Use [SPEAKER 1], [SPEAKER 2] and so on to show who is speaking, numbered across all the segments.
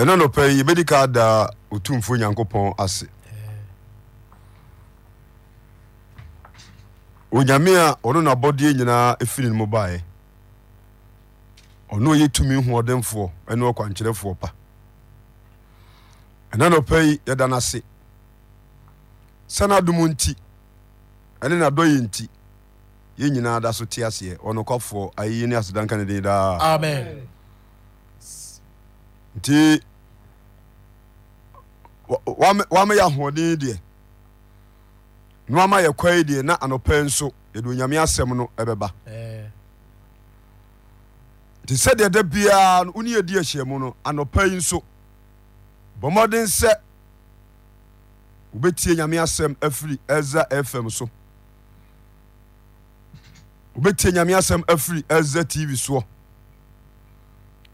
[SPEAKER 1] ɛna nɔpɛ yi yɛbɛdi ka daa ɔtumfuo nyankopɔn ase onyame a ɔno nabɔdeɛ nyinaa ɛfiri no mu baeɛ ɔno ɔyɛ tumi hoɔdenfoɔ ɛne ɔkwankyerɛfoɔ pa ɛna nɔpɛ yi yɛda no ase sɛ n'adom nti ɛne n'adɔyɛ nti yɛn nyinaa da so te aseɛ ɔnokwafoɔ ayeyi ne asedanka ne den daa
[SPEAKER 2] Amen.
[SPEAKER 1] nti wa- wame wame yɛ ahoɔden deɛ na wama yɛ kwae deɛ na anɔpa yi nso yɛde onyame asɛm no ɛbɛba
[SPEAKER 2] Ɛɛ,
[SPEAKER 1] nti sɛdeɛ da biara no wone yɛdi ahyia mu no anɔpa yi nso bɔ mmɔden sɛ wobɛtie nyame asɛm afiri ɛza fm so wobɛtie nyame asɛm afiri ɛza tv soɔ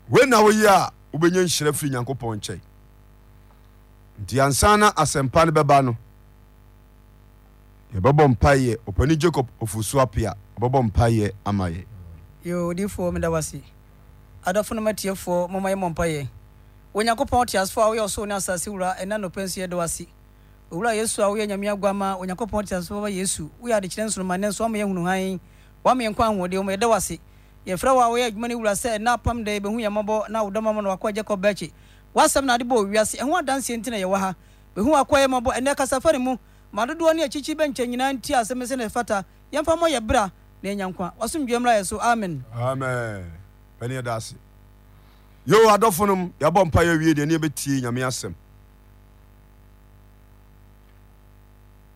[SPEAKER 1] wei na woyi a wobɛnya nhyira firi nyankopɔn nkyɛn nti ansa na asɛmpa no bɛba no yɛbɛbɔ mpayɛ ɔpani jacob ofusuo ape a ɔbɛbɔ mpayɛ ama yɛ
[SPEAKER 3] yo odiyifoɔ meda wase adɔfo no matiefoɔ moma yɛ mɔmpa yɛ onyankopɔn teasefoɔ a woyɛ ɔsoo ne asase wura ɛna nɔpɛ nso yɛde wase owura yesu a woyɛ nyame aguama onyankopɔn teasefoɔ ba yesu woyɛ adekyerɛ nsoroma ne nso ama yɛhunu han wama yɛ nkɔ ahoɔdeɛ mu yɛda wase yɛfrɛ wo a woyɛ adwuma no wura sɛ ɛna apam da yɛbɛhu yɛ mmɔbɔ na wodɔma ma no wakɔ agya kɔ bɛkye woasɛm na ade bɔ owiase ɛho adanseɛ nti na yɛwɔ ha bɛhu wakɔ yɛ mmɔbɔ ɛnɛ kasafa ne mu ma dodoɔ ne akyikyi bɛnkyɛ nyinaa nti asɛm sɛ ne fata yɛmfa mmɔ yɛ bra na ɛnya nkwa wasomdwa mmra yɛ so amen
[SPEAKER 1] amen ɛne yɛda ase yo bon adɔfo nom yɛabɔ mpa yɛawie deɛ ne yɛbɛtie nyame asɛm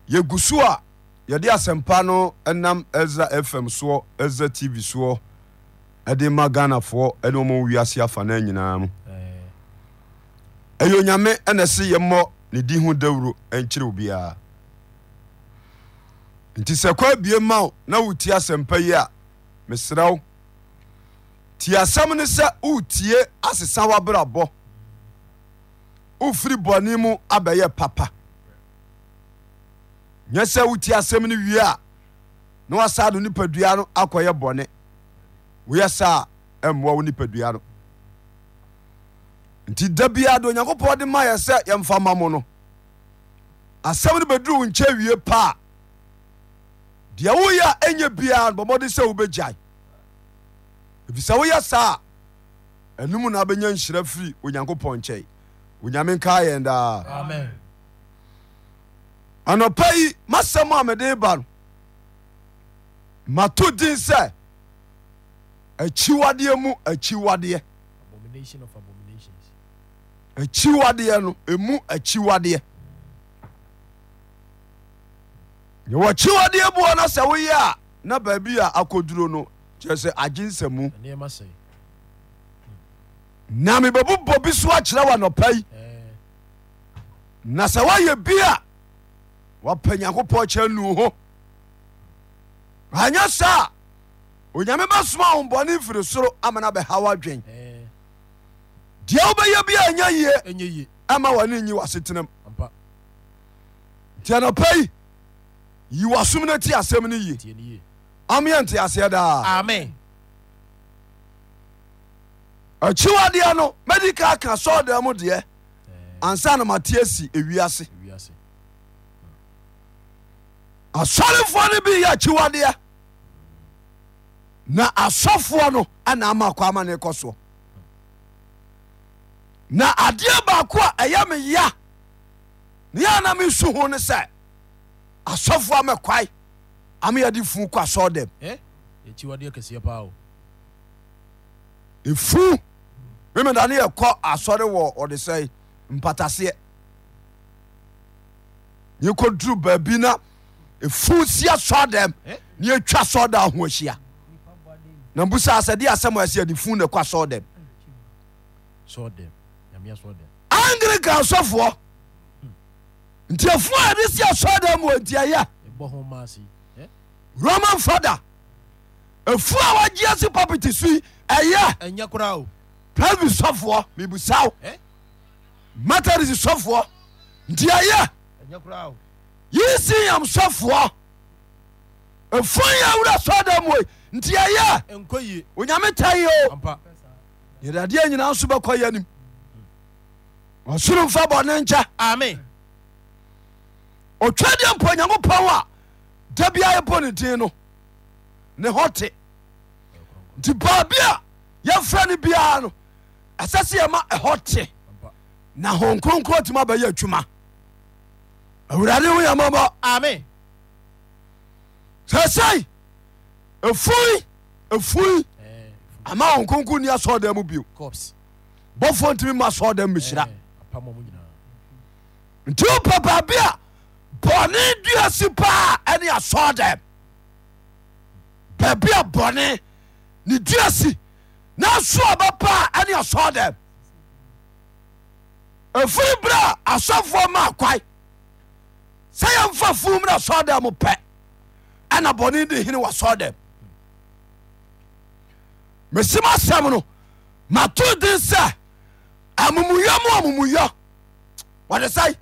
[SPEAKER 1] yɛgu so a yɛde asɛmpa no nam ɛza fm soɔ ɛza tv soɔ ɛde ma ghanafoɔ ɛne ɔma wiase afa no nyinaa mu
[SPEAKER 2] ɛɛ,
[SPEAKER 1] ɛyɛ onyame ɛna ɛse yɛmmɔ ne di ho dawuro ɛnkyerɛ wo biara nti sɛ kwa bie ma wo na wotie asɛmpa yi a mesrɛ wo tie asɛm no sɛ wotie asesa w'abrabɔ wofiri bɔne mu abɛyɛ papa nyɛ sɛ wotie asɛm no wie a na woasa do nipadua no akɔyɛ bɔne woyɛ saa a ɛmmoa wo nipadua no nti da biara de onyankopɔn de ma yɛ sɛ yɛmfa ma mo no asɛm no bɛduru wo nkyɛ wie pa e a deɛ woyɛ a ɛnyɛ biara no bɔmmɔde sɛ wobɛgyae ɛfisɛ woyɛ saa a ɛnom na bɛnya nhyira firi onyankopɔn nkyɛe onyame nkaa yɛn daa
[SPEAKER 2] Amen.
[SPEAKER 1] anɔpa yi masɛm a mede ba no mato din sɛ akyiwadeɛ mu akyiwadeɛ
[SPEAKER 2] Abomination of abominations.
[SPEAKER 1] akyiwadeɛ no ɛmu akyiwadeɛ yɛwɔ kyiwadeɛ boɔ no sɛ woyɛ a na baabi a akɔduro no kyerɛ sɛ agyensɛmu
[SPEAKER 2] Nneɛma sɛ,
[SPEAKER 1] na mebɛbobɔ bi so akyerɛ w anɔpa yi
[SPEAKER 2] ɛɛ,
[SPEAKER 1] na sɛ woayɛ bi a woapɛ nyankopɔn kyɛ nu ho anyɛ saa a onyame bɛsoma ahombɔne mfiri soro ama no bɛhaw adwen
[SPEAKER 2] ɛɛ,
[SPEAKER 1] deɛ wobɛyɛ bi a ɛnyɛ yie
[SPEAKER 2] ɛnyɛ yie.
[SPEAKER 1] ama wɔne nyi w'asetenam
[SPEAKER 2] Ampa,
[SPEAKER 1] nti anɔpa yi yi w'asom no ti asɛm no yie
[SPEAKER 2] tie ne yie.
[SPEAKER 1] ɔmeyɛ nte aseɛ daa
[SPEAKER 2] Amen.
[SPEAKER 1] akyiwadeɛ no mɛdi ka ka sɔɔdan mu deɛ
[SPEAKER 2] Ɛɛ,
[SPEAKER 1] ansa na mate asi ewiase
[SPEAKER 2] ewiase.
[SPEAKER 1] asɔrefoɔ no bi yɛ akyiwadeɛ na asɔfoɔ no ana ama kɔ ama ne kɔ soɔ na adeɛ baako a ɛyɛ me ya ne yɛ na mesu ho no sɛ asɔfoɔ amɛkwae ameyɛde fu kɔ asɔɔdam
[SPEAKER 2] Ɛ, akyiwadeɛ kɛseɛ paa o.
[SPEAKER 1] efu memeda ne yɛkɔ asɔre wɔ ɔde sɛ mpataseɛ yɛkɔduru baabi na efu si asɔ dɛm
[SPEAKER 2] Ɛ?
[SPEAKER 1] ne yɛtwa asɔ da ho ahyia na mbu saa sɛ de asɛm a ɛsɛ yɛde fu na ɛkɔ asɔ dɛm
[SPEAKER 2] Sɔɔ dɛm. Nyame asɔɔ dɛm.
[SPEAKER 1] anglikan asɔfoɔ nti efu a yɛde si asɔ dɛm wɔ nti ɛyɛ
[SPEAKER 2] Ɛbɔ ho Eh, maa se. Ɛ,
[SPEAKER 1] roman fada efu a wɔagye asi papiti so yi ɛyɛ
[SPEAKER 2] ɛnyɛ koraa o.
[SPEAKER 1] presby sɔfoɔ mebusa wo
[SPEAKER 2] Ɛ,
[SPEAKER 1] methodist sɔfoɔ nti ɛyɛ
[SPEAKER 2] ɛnyɛ koraa o.
[SPEAKER 1] yisi yam sɔfoɔ efun yɛ awura sɔda mu yi nti ɛyɛ
[SPEAKER 2] Ɛnkɔ yie.
[SPEAKER 1] onyame ta yi o
[SPEAKER 2] Ampa,
[SPEAKER 1] yɛdadeɛ nyinaa nso bɛkɔ yɛ nim ɔsoro mfa bɔne nkyɛ
[SPEAKER 2] amen
[SPEAKER 1] ɔtwa deɛ mpo onyankopɔn a da biaa yɛbɔ ne din no ne hɔ te nti baabi a yɛmfrɛ no biara no ɛsɛ sɛ yɛma ɛhɔ te
[SPEAKER 2] ampa
[SPEAKER 1] na hon kronkro tumi abɛyɛ adwuma awurade ho yɛmɔbɔ
[SPEAKER 2] amen
[SPEAKER 1] sɛsɛi ɛfui ɛfui
[SPEAKER 2] ɛɛ
[SPEAKER 1] ama hon kronkro ni asɔɔdan mu bio
[SPEAKER 2] cops
[SPEAKER 1] bɔfoɔ ntumi ma asɔɔdan mu
[SPEAKER 2] ɛɛ
[SPEAKER 1] mesira
[SPEAKER 2] apamɔ eh, mu nyinaa
[SPEAKER 1] nti wopɛ baabi a bɔne dua si paa ɛne asɔɔdɛm baabi a bɔne ne dua si na asoa bɛpaa ɛne asɔɔdɛm ɛfiri berɛ a asɔfoɔ maa kwae sɛ yɛmfa fuu mmerɛ asɔɔdɛm pɛ ɛna bɔne de hene wɔ asɔɔdɛm mesim asɛm no mato den sɛ amumuyɔ mu amumuyɔ wɔde sɛ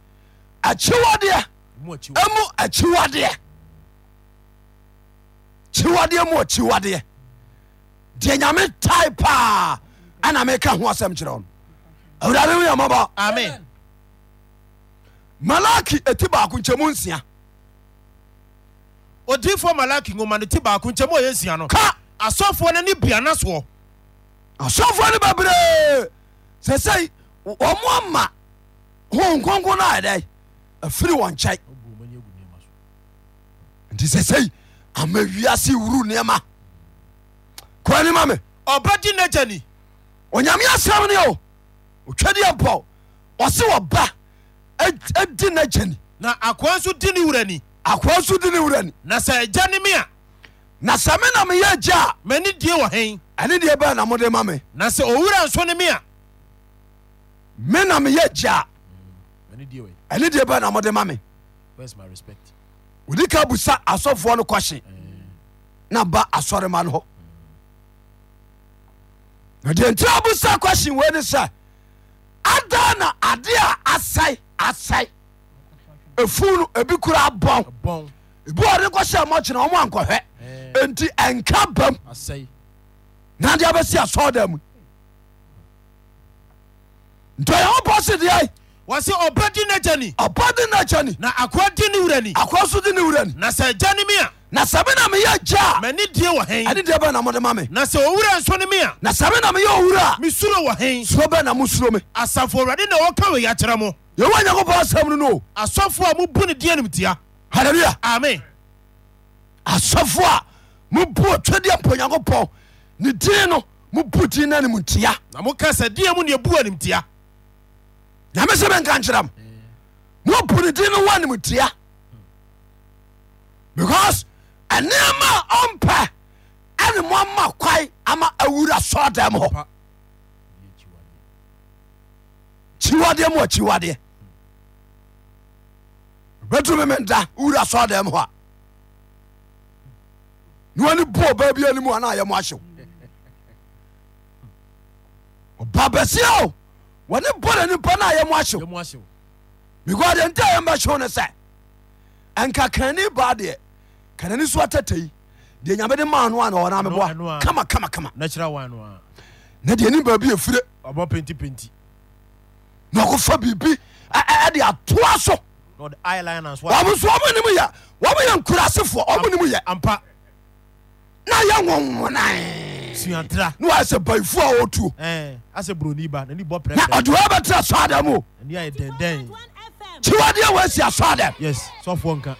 [SPEAKER 1] akyiwadeɛ
[SPEAKER 2] mu akyi wɔ
[SPEAKER 1] ɛmu akyiwadeɛ kyiwadeɛ mu akyiwadeɛ deɛ nyame tae paa ɛna meka ho asɛm kyerɛ no awurade ho yɛmɔbɔ
[SPEAKER 2] amen
[SPEAKER 1] malaki ɛti baako nkyɛmu nsia
[SPEAKER 2] odiifoɔ malaki nwoma no ti baako nkyɛn mu a yɛnsia no
[SPEAKER 1] ka
[SPEAKER 2] asɔfoɔ no ne biana soɔ
[SPEAKER 1] asɔfoɔ no bebree sɛ sɛi ɔmo ama ho nkonko no ayɛdɛ afiri wɔ nkyɛe nti sɛ sɛi ama wiase wuru nneɛma koa ni ma me
[SPEAKER 2] ɔbɛgye n'agya ni
[SPEAKER 1] onyame asɛm ne o otwadeɛ mpɔ ɔse wɔba ad- adi n'agyani
[SPEAKER 2] na akoa nso di ne wura ni
[SPEAKER 1] akoa so di ne wura ni
[SPEAKER 2] na sɛ agya ne me a
[SPEAKER 1] na sɛ me na meyɛ agya
[SPEAKER 2] m'ani die wɔ hɛn
[SPEAKER 1] a ɛne deɛ bɛɛ na mode ma me
[SPEAKER 2] na sɛ owura nso ne me a
[SPEAKER 1] me na meyɛ agya
[SPEAKER 2] m'ani die wɔ
[SPEAKER 1] a ɛne deɛ bɛɛ na mode ma me
[SPEAKER 2] where's my respect
[SPEAKER 1] wodi ka busa asɔfoɔ no kɔhye na ba asɔrema no hɔ na deɛ nti abusa kɔhye wei ne sɛ adaa na ade a asɛe asɛe ɛfu no ebi koraa bɔn
[SPEAKER 2] ɛbɔn
[SPEAKER 1] ebi wɔ de kɔhyɛ mɔkyena ɔmo ankɔhwɛ
[SPEAKER 2] Ɛɛ.
[SPEAKER 1] enti ɛnka bam
[SPEAKER 2] asɛe
[SPEAKER 1] na de abɛsi asɔɔda mu nti ɔyankopɔn se deɛ
[SPEAKER 2] wɔ se ɔbɛgye n'agya ni
[SPEAKER 1] ɔba de no akyɛ ni
[SPEAKER 2] na akoa di ne wura ni
[SPEAKER 1] akɔ so de ne wura ni
[SPEAKER 2] na sɛ agya ne me a
[SPEAKER 1] na sɛ me na meyɛ gya
[SPEAKER 2] m'ani die wɔ
[SPEAKER 1] a
[SPEAKER 2] hɛn
[SPEAKER 1] ɛne deɛ bɛɛ na mode ma me
[SPEAKER 2] na sɛ owura nso ne me a
[SPEAKER 1] na sɛ me na meyɛ owura a
[SPEAKER 2] mesuro wɔ hɛn
[SPEAKER 1] suro bɛɛ na mosuro me
[SPEAKER 2] asafo awurade na wɔka wɔ yi akyerɛ mo
[SPEAKER 1] yɛwɔ nyankopɔn asɛm no no o
[SPEAKER 2] asɔfoɔ a mobu ne deɛ animtia
[SPEAKER 1] halleluya
[SPEAKER 2] amen
[SPEAKER 1] asɔfo a mobu otwadeɛ mpo nyankopɔn ne din no mobu din no anim ntia
[SPEAKER 2] na moka sɛ deɛ mu ne ɛbu animtia
[SPEAKER 1] nyame sɛ menka nkyerɛ m mobu ne din no wɔ anim ntia because ɛneɛma a ɔmpɛ ɛne moama kwae ama awura sɔɔdɛm hɔ
[SPEAKER 2] Pa.
[SPEAKER 1] kyiwadeɛ mu akyiwadeɛ bɛtumi me nda wura sɔɔdɛm hɔ a ne wani bɔɔ baa bia no mu ana yɛ mo ahyew ɔba bɛsia o wɔne bɔne nipa no a yɛ mo ahyew
[SPEAKER 2] Yɛ mu ahyew.
[SPEAKER 1] because deɛ nti a yɛmbɛhyew no sɛ ɛnka kanani baa deɛ kanani so atata yi deɛ nyame de maa no a na ɔna
[SPEAKER 2] Ɛno- ɛno
[SPEAKER 1] meboa
[SPEAKER 2] a-
[SPEAKER 1] kama kama kama
[SPEAKER 2] natural wine no a
[SPEAKER 1] na deɛ ni baabi ɛfire
[SPEAKER 2] ɔbɔ pentipenti
[SPEAKER 1] na ɔkɔfa biribi ɛ- ɛ- ɛde atoa so
[SPEAKER 2] na ɔde iliners wa
[SPEAKER 1] wɔm so ɔmo nim yɛ wɔmo yɛ nkurasefoɔ ɔmo nim yɛ
[SPEAKER 2] ampa
[SPEAKER 1] na yɛ nwonwonae
[SPEAKER 2] suantra
[SPEAKER 1] na wayɛ sɛ baifoɔ a wɔtuo
[SPEAKER 2] Ɛn, asɛ buroni ba nani bɔ
[SPEAKER 1] na
[SPEAKER 2] prɛprɛ
[SPEAKER 1] ɔde wɔ bɛtera sɔ adam o
[SPEAKER 2] ani ayɛ dɛndɛn
[SPEAKER 1] kyiwadeɛ wɔasi asɔ adam
[SPEAKER 2] yes sɔfoɔ nka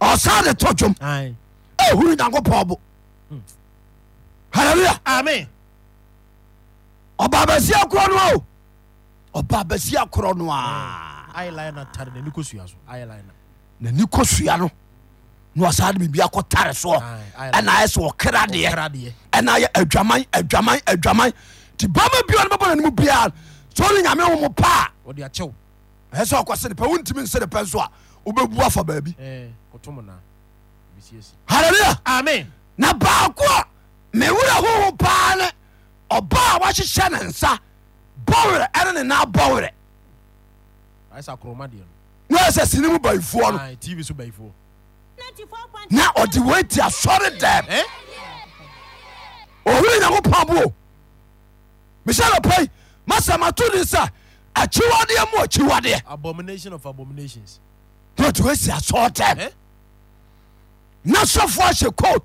[SPEAKER 1] ɔsa de to dwom
[SPEAKER 2] Aye.
[SPEAKER 1] ɛhuru nyankopɔn bo halleluya
[SPEAKER 2] amen
[SPEAKER 1] ɔba basia korɔ no a o ɔba basia korɔ no a
[SPEAKER 2] eyeliner tare n'ani kɔ sua so eyeliner
[SPEAKER 1] n'ani kɔ sua no na ɔsa de biribi akɔtare soɔ
[SPEAKER 2] Aye, eyeliner.
[SPEAKER 1] ɛna ayɛ sɛ ɔkra deɛ
[SPEAKER 2] Ɔkra deɛ
[SPEAKER 1] ɛna yɛ adwaman adwaman adwaman nti bama bia no bɛbɔ nanimu biaa sɛ ɔne nyame wo mo paa
[SPEAKER 2] ɔde akyɛw
[SPEAKER 1] ɛyɛ sɛ ɔkɔ sene pɛ wontimi nsene pɛ nso a wobɛbu afa baabi
[SPEAKER 2] Ɛn, kɔtom na bɛsiesi
[SPEAKER 1] halleluya
[SPEAKER 2] amen
[SPEAKER 1] na baako a mewerɛ hoho paa ne ɔba a wahyehyɛ ne nsa bɔwerɛ ɛne ne na bɔwerɛ
[SPEAKER 2] ayɛ sɛ akorɔma deɛ no
[SPEAKER 1] na ɛyɛ sɛ sini mu baifoɔ no
[SPEAKER 2] Aye, tv so bayifoɔ
[SPEAKER 1] na ɔde wɔati asɔre dɛm
[SPEAKER 2] Ɛn?
[SPEAKER 1] ɔhene nyankopɔn bo o mehyɛ no pɛi masɛ mato ne sɛ akyiwadeɛ mu akyiwadeɛ
[SPEAKER 2] abomination of abominations
[SPEAKER 1] na ɔde wasi asɔɔtɛm
[SPEAKER 2] Eh?
[SPEAKER 1] na sɔfoɔ ahyɛ coat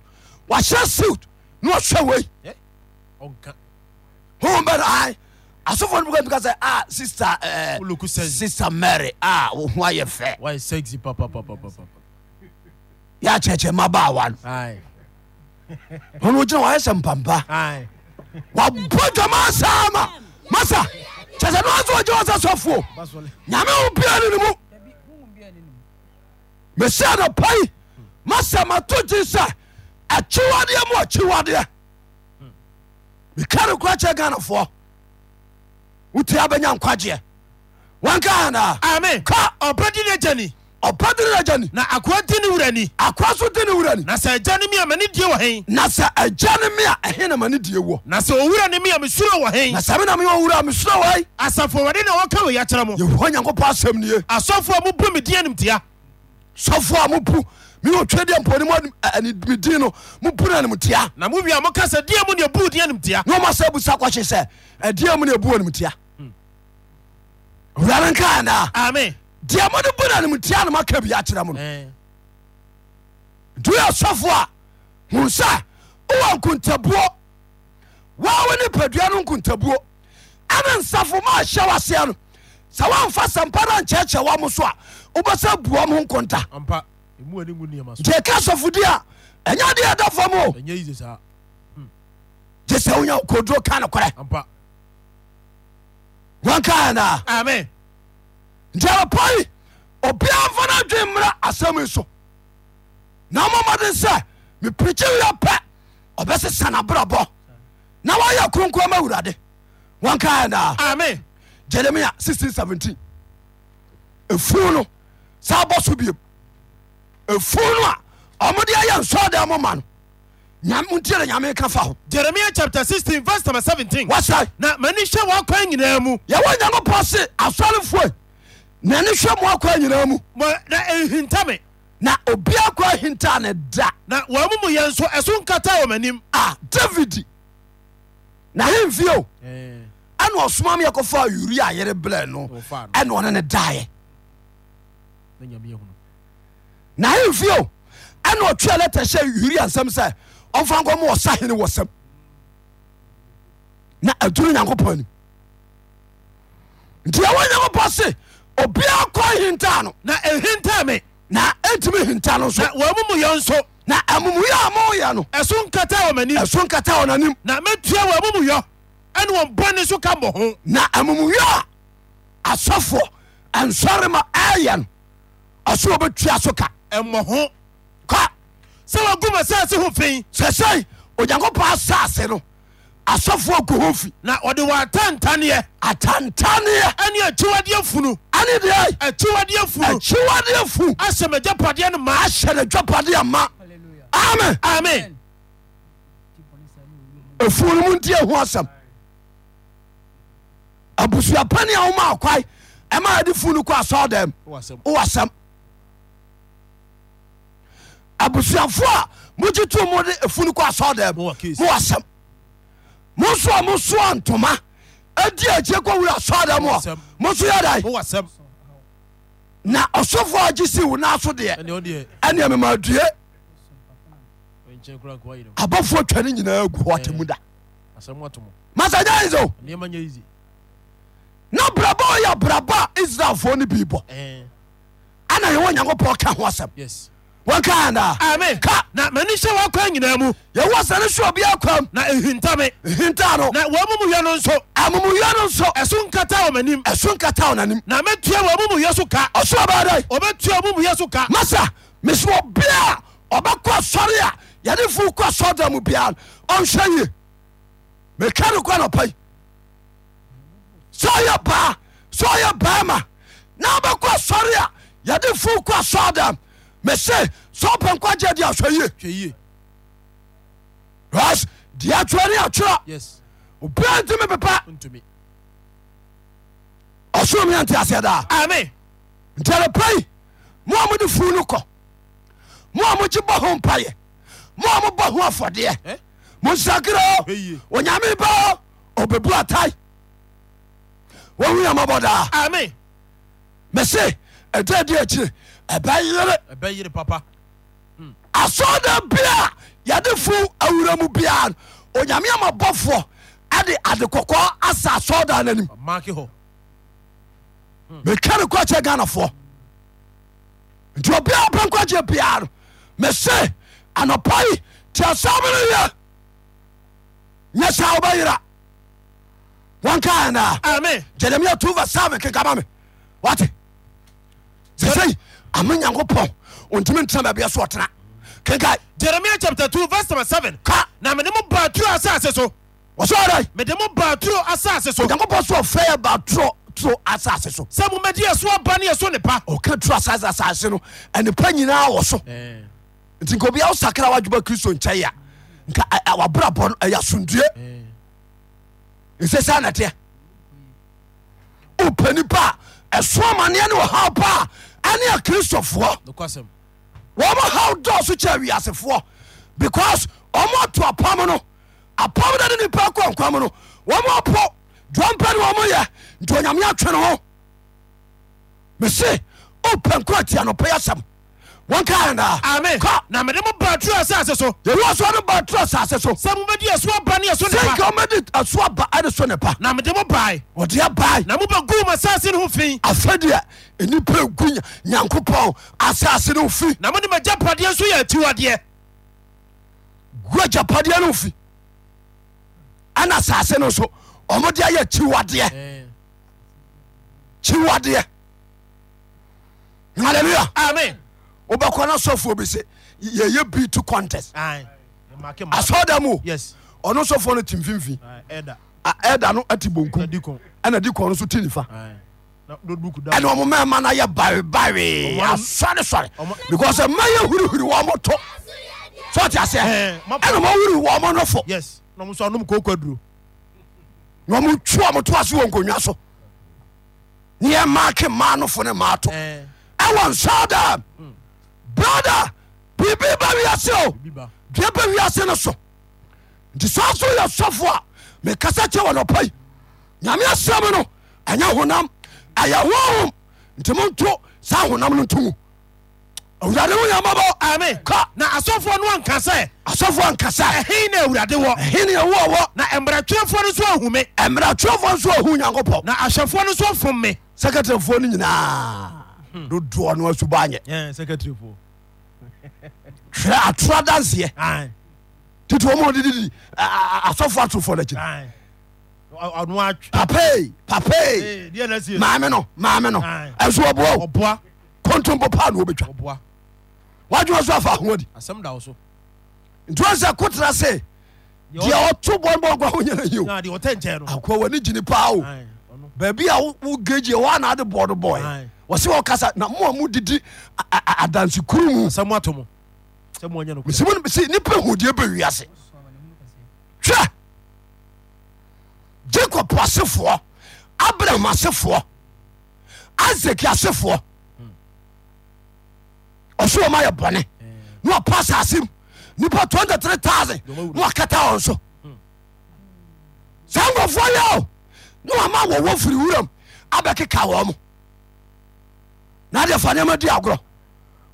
[SPEAKER 1] wahyɛ suit na ɔhwɛ wei
[SPEAKER 2] Eh? ɔnka
[SPEAKER 1] hom bɛn ai asɔfoɔ no bika sɛ a sister eh,
[SPEAKER 2] Woloku sexy.
[SPEAKER 1] sister mary a wo ho ayɛ fɛ
[SPEAKER 2] wayɛ sexy papapapapapa
[SPEAKER 1] yɛakyerɛkyerɛ ma baa wa no
[SPEAKER 2] ae
[SPEAKER 1] ɔno wogyina wayɛ sɛ mpampa
[SPEAKER 2] ae
[SPEAKER 1] wabɔ dwama saa ma masa kyɛ sɛ no asɛ ɔgye wɔ sɛ sɔfoɔ
[SPEAKER 2] basɔle
[SPEAKER 1] nyame wo bia ne ne mu mesi anɔpa yi masɛ mato gye sɛ akyiwadeɛ mu akyiwadeɛ meka ne kora kyɛ ghanafoɔ wotia bɛnya nkwagyeɛ wanka anaa
[SPEAKER 2] ame
[SPEAKER 1] ka
[SPEAKER 2] ɔbɛ di ne agya ni
[SPEAKER 1] ɔpa de ne agya ni
[SPEAKER 2] na akoa di ne wura ni
[SPEAKER 1] akora so de ne wura ni
[SPEAKER 2] na sɛ agya ne mi a mane die wɔ hen
[SPEAKER 1] na sɛ agya ne me a ɛhe na ma ne die wɔ
[SPEAKER 2] na sɛ owura ne mi a mesuro
[SPEAKER 1] na
[SPEAKER 2] wɔ hen
[SPEAKER 1] sɛ me na meyɛ wura a mesuro wai
[SPEAKER 2] asafo awurade na wɔka wɔ yɛkyerɛ mo
[SPEAKER 1] yɛhoa nyankopɔn asɛm nie
[SPEAKER 2] asɔfoɔ a mobu me din animtia
[SPEAKER 1] sɔfoɔ a mopu meyɛ twadeɛ mpɔne mu medin no mopu no animtia
[SPEAKER 2] na mowie a moka sɛ deɛ mu ne ɛbuu din animtia
[SPEAKER 1] na ɔma sɛ abusa kɔhye sɛ ɛdeɛ mu ne ɛbu animtia wurare nka anaa
[SPEAKER 2] ame
[SPEAKER 1] deɛ mo ne bu no animtia no maka bi akyerɛ mo no
[SPEAKER 2] ɛne
[SPEAKER 1] nti woyɛ sɔfoɔ a hu sɛ wowɔ nkontabuo waa wo ne padua no nkontabuo ɛne nsafo ma ahyɛ waseɛ no sɛ woamfa sɛmpa no nkyɛɛkyɛ wɔ mo so a wobɛsɛ bua mo ho nkonta
[SPEAKER 2] ampa ɛmu ani ngu nneɛma so
[SPEAKER 1] nti ɛka sɔfodi a ɛnyɛ deɛ ɛda fam o
[SPEAKER 2] ɛnyɛ yise saa
[SPEAKER 1] gye sɛ wonya koduro ka nokorɛ
[SPEAKER 2] ampa
[SPEAKER 1] wanka anaa
[SPEAKER 2] ame
[SPEAKER 1] nti anɔpɔyi obiaa mfa no adwen mmra asɛm yi so na mɔmɔden sɛ mepirikyi wiɛ pɛ ɔbɛsesa nabrabɔ na wayɛ kronkron ma awurade wanka anaa
[SPEAKER 2] ame
[SPEAKER 1] jeremia 1617 ɛfunu no saa bɔ so biom ɛfunu no a ɔmode ayɛ nsɔɔdan mo ma no Nyame- montie dɛ nyame ka fa ho
[SPEAKER 2] jeremia chapter 16 verse number 17
[SPEAKER 1] wasae
[SPEAKER 2] na m'ani hwɛ wɔn kwan nyinaa mu
[SPEAKER 1] yɛwɔ nyankopɔn se asɔrefoe na ne hwɛ mo akɔa nyinaa mu
[SPEAKER 2] Mɔ- na ɛhinta me
[SPEAKER 1] na obia kɔa hintaa ne da
[SPEAKER 2] na wɔn mu yɛ nso ɛso nkata wɔ m'anim
[SPEAKER 1] a Ah, david nahemfie o
[SPEAKER 2] ɛne
[SPEAKER 1] ɛna ɔsoma me yɛkɔfa uria yere blɛ no
[SPEAKER 2] Wɔfaa no.
[SPEAKER 1] ɛna ɔne ne daeɛ nahemfie o ɛna ɔtwea lɛta hyɛ uria nsɛm sɛ ɔmfa nkɔ ma ɔsa hene wɔ sɛm na aduru nyankopɔn anim nti ɛwɔ nyankopɔn se obiaa kɔ hintaa no
[SPEAKER 2] na ɛhinta me
[SPEAKER 1] na ɛntumi hinta no
[SPEAKER 2] na
[SPEAKER 1] nso
[SPEAKER 2] wɔn mu yɛ nso
[SPEAKER 1] na amumuyɛ a moyɛ no
[SPEAKER 2] ɛso nkata wɔ m'anim
[SPEAKER 1] ɛso nkata ɔnanim
[SPEAKER 2] na mɛtua wɔn mu yɔ ɛne wɔn bɔne so ka bɔ ho
[SPEAKER 1] na amumuyɛ a asɔfoɔ ɛnsɔre ma ɛyɛ no ɔso wɔbɛtua so ka
[SPEAKER 2] ɛmmɔ ho
[SPEAKER 1] ka
[SPEAKER 2] sɛ wɔgu ma sɛ ase ho fi
[SPEAKER 1] sɛsɛi onyankopɔn asase no asɔfoɔ gu ho fi
[SPEAKER 2] na ɔde wɔn atantaneɛ
[SPEAKER 1] atantaneɛ
[SPEAKER 2] ɛne akyiwadeɛ funu
[SPEAKER 1] ane deɛ
[SPEAKER 2] akyiwadeɛ funu
[SPEAKER 1] akyiwadeɛ fu
[SPEAKER 2] ahyɛ m'agyapadeɛ no maa
[SPEAKER 1] ahyɛ ne dwapadeɛ ma amen
[SPEAKER 2] amen
[SPEAKER 1] afuo no mu nti ɛho asɛm abusuapane a woma akwae ɛma ɛde fu no kɔ asɔɔdam wowɔ asɛm abusuafo a mogye to mo de afunu kɔ asɔɔdam
[SPEAKER 2] Mowɔ
[SPEAKER 1] mowɔ
[SPEAKER 2] case.
[SPEAKER 1] asɛm monso a mosoa ntoma adi akyie kɔ wura asɔɔdam
[SPEAKER 2] Mowɔ
[SPEAKER 1] hɔ
[SPEAKER 2] asɛm.
[SPEAKER 1] monso yɛ dae
[SPEAKER 2] wowɔ sɛm
[SPEAKER 1] na ɔsɔfoɔ agye si wo naa so deɛ
[SPEAKER 2] ɛne ɔdeɛ
[SPEAKER 1] ɛneɛ memadue
[SPEAKER 2] nkyɛn kora nkoa yere
[SPEAKER 1] abɔfoɔ twa ne nyinaa gu hɔ te
[SPEAKER 2] Eh.
[SPEAKER 1] mu da
[SPEAKER 2] asɛm ato mo
[SPEAKER 1] masa gyae sɛ
[SPEAKER 2] nneɛma nyɛ easy
[SPEAKER 1] na brabɔ a ɔyɛ brabɔ a israelfoɔ no bi bɔ
[SPEAKER 2] Eh,
[SPEAKER 1] ana yɛwɔ nyankopɔn ka ho asɛm
[SPEAKER 2] yes
[SPEAKER 1] wɔnka anaa
[SPEAKER 2] amen
[SPEAKER 1] Ka.
[SPEAKER 2] na m'ani hyɛ wɔn kwan nyinaa mu
[SPEAKER 1] yɛwɔ sɛ ne soɔ bi akwam
[SPEAKER 2] na ɛhinta me
[SPEAKER 1] hintaa no
[SPEAKER 2] na wɔn mu yɛ no nso
[SPEAKER 1] amumuyɛ no nso
[SPEAKER 2] ɛso nkata wɔ m'anim
[SPEAKER 1] ɛso nkata ɔnanim
[SPEAKER 2] na mɛtua wɔn mu yɛ so ka
[SPEAKER 1] ɔso ɔbaadai
[SPEAKER 2] ɔbɛtua wɔn mu yɛ so ka
[SPEAKER 1] masa mesɛ ɔbea a ɔbɛkɔ asɔre a yɛde fo kɔ asɔre da mu biaa no ɔnhwɛ ye meka no kɔ nɔpai sɛ ɔyɛ baa sɛ ɔyɛ baama na ɔbɛkɔ asɔre a yɛde fo kɔ asɔre dam mese sɛ ɔpɛ nkwagye de ahwɛ ye
[SPEAKER 2] hwɛ yie
[SPEAKER 1] ras deɛ atwerɛ ne atwerɛ
[SPEAKER 2] yes
[SPEAKER 1] obia ntimi pepa
[SPEAKER 2] ntumi
[SPEAKER 1] ɔsoro meante aseɛ daa
[SPEAKER 2] amen
[SPEAKER 1] ntɛrɛpɛi mo a mode fu no kɔ mo a mogye bɔ ho mpayɛ mo a mobɔ ho afɔdeɛ
[SPEAKER 2] Eh?
[SPEAKER 1] monsakra o
[SPEAKER 2] Ɛyie.
[SPEAKER 1] onyame ba o ɔbɛbu atae wɔhu yamabɔ daa
[SPEAKER 2] ame
[SPEAKER 1] mese ɛda di akyire ɛbɛyere
[SPEAKER 2] ɛbɛ yere papa
[SPEAKER 1] asɔda bia yɛde fu awura mu bia onyame amabɔfoɔ ade ade kɔkɔɔ asa asɔda no anim
[SPEAKER 2] maki hɔ
[SPEAKER 1] metwa ne kɔkyɛ ghanafoɔ nti ɔbia pɛ nkɔkyɛ bia no mese anɔpa yi tiasɛm no yɛ nyɛ saa wobɛyera wɔnka anaa
[SPEAKER 2] ame
[SPEAKER 1] jeremia 2 vs 7 kekama me wate sesei ame nyankopɔn ontimi ntena baabiɛ so ɔtena kenka
[SPEAKER 2] jeremia chapter 2 verse number 7
[SPEAKER 1] ka
[SPEAKER 2] na mede mo baa turo asase so
[SPEAKER 1] ɔsɛɔdɛ
[SPEAKER 2] mede mo baa turo asase so
[SPEAKER 1] onyankopɔn so ɔfrɛ ba toro toro asase so
[SPEAKER 2] sɛ momɛdi ɛso aba ne ɛso nepa
[SPEAKER 1] ɔka toro asase asase no ɛnipa nyinaa wɔ so nti nka obia wo sakra woadwuma kristo nkyɛe a nka ɛ- ɛ- wabrabɔ no ɛyɛ asomdue ɛsɛ saa nɛteɛ wopɛ nipa a ɛso amanneɛ ne ɔhaw pa a ɛne a kristofoɔ
[SPEAKER 2] nokwasɛm
[SPEAKER 1] wɔn haw dɔɔso kyɛ wiasefoɔ because wɔn ato apam no apam no de nipa kɔ nkwam no wɔn apɔ dɔmpɛ ne wɔn yɛ nti onyame atwe ne ho mese opɛ nkɔ atia no pɛyɛ asɛm wɔn ka
[SPEAKER 2] ame
[SPEAKER 1] anaa ka
[SPEAKER 2] na mede mo baa turo asase so
[SPEAKER 1] yɛwɔ so no ba toro asase so
[SPEAKER 2] sɛ momɛdi ɛso aba ne ɛso nepa
[SPEAKER 1] sɛnka ɔmɛde aso aba ɛde so ne ba
[SPEAKER 2] na mede mo bae
[SPEAKER 1] wɔde abae
[SPEAKER 2] na mobɛguu m asase no ho fi
[SPEAKER 1] afɛdeɛ nipa gu nya- nyankopɔn asase no fi
[SPEAKER 2] na mode magya padeɛ nso yɛ akyiwadeɛ
[SPEAKER 1] gu agyapadeɛ no fi ɛna asase no so ɔmode ayɛ kyiwadeɛ
[SPEAKER 2] Eh.
[SPEAKER 1] kyiwadeɛ hallelujah
[SPEAKER 2] amen
[SPEAKER 1] wobɛkɔ no sɔfoɔ bi sɛ yɛyɛ bi to contest asɔda mu o,
[SPEAKER 2] yes
[SPEAKER 1] ɔno sɔfoɔ oh. no te mfimfi
[SPEAKER 2] Ah. ɛda
[SPEAKER 1] A- ɛda Ah, no ate bonkum
[SPEAKER 2] dikon
[SPEAKER 1] ɛna di kɔn no so te nifa
[SPEAKER 2] na doduku da
[SPEAKER 1] ɛne ɔmo mɛma no yɛ bawebawee
[SPEAKER 2] Ɔmo am-
[SPEAKER 1] asɔresɔre
[SPEAKER 2] Ɔmo-
[SPEAKER 1] because ɛma yɛ hurihuri wɔ mo to sɛ ɔte aseɛ
[SPEAKER 2] Ɛɛ, ma-
[SPEAKER 1] ɛne mawuri wɔ mo nofo
[SPEAKER 2] yes na mo nso anom kooko aduro
[SPEAKER 1] na ɔmo twe ɔmo to ase wɔ nkonnwa so ne yɛma ke ma nofo ne maa to ɛwɔ nsa da brada biribi ba wiase o
[SPEAKER 2] biba
[SPEAKER 1] dua ba wiase no so nti saa so yɛ sɔfo a mekasa kyɛ wɔ nɔpa yi nyame asɛm no ɛnyɛ honam ɛyɛ honhom nti monto saa honam no nto mu awurade ho yɛmabɔ
[SPEAKER 2] amen
[SPEAKER 1] Ka.
[SPEAKER 2] na asɔfoɔ no anka sɛ
[SPEAKER 1] asɔfo ankasa
[SPEAKER 2] ɛhe na awurade wɔ
[SPEAKER 1] hene ɛwoɔwɔ
[SPEAKER 2] na mmaratwerɛfoɔ no nso ahume
[SPEAKER 1] mmeratwerɛfoɔ nso ahu nyankopɔn
[SPEAKER 2] na ahyɛfoɔ no nso fom me
[SPEAKER 1] sekretarifoɔ no nyinaa dodoɔ no asuba anyɛ
[SPEAKER 2] secretaryfoɔ
[SPEAKER 1] twerɛ atoa danseɛ titi wɔn a wɔdedidi asɔfo atorofoɔ no akyiri
[SPEAKER 2] ɔno atwe
[SPEAKER 1] papee papee
[SPEAKER 2] deɛ na sie
[SPEAKER 1] maame no maame no
[SPEAKER 2] Aye.
[SPEAKER 1] ɛso ɔboa o
[SPEAKER 2] ɔboa
[SPEAKER 1] kontompo paa na wɔbɛtwa
[SPEAKER 2] ɔboa
[SPEAKER 1] wadwuma so afa ahoɔdi
[SPEAKER 2] asɛm da wo so
[SPEAKER 1] nti wɔn sɛ kotera se deɛ ɔto bɔnbɔnkɔ ho nyɛ no yio
[SPEAKER 2] deɛ ɔtɛ nkyɛn no
[SPEAKER 1] akoa w'ani gyini paa o
[SPEAKER 2] Aye, ɔno.
[SPEAKER 1] baabi a wo- e, wo gagye wɔ ana ade bɔɔdo bɔɛ
[SPEAKER 2] Aye.
[SPEAKER 1] wɔse wɔkasa na mo a modidi a- a- a- adansekuru mu
[SPEAKER 2] asɛm ato mo sɛ moanyɛ no
[SPEAKER 1] mesɛmu no sɛ nnipa ahudeɛ bɛwiase hwɛ jakob asefoɔ abraham asefofoɔ isaac asefoɔ ɔso ɔma yɛ bɔne na ɔpa asase m nipa 23000 na wakata wɔn so saa nkɔfoɔ yɛ o na wama wɔwɔ firi wuram abɛkeka wɔ mo na deɛ fa nneɛma di agorɔ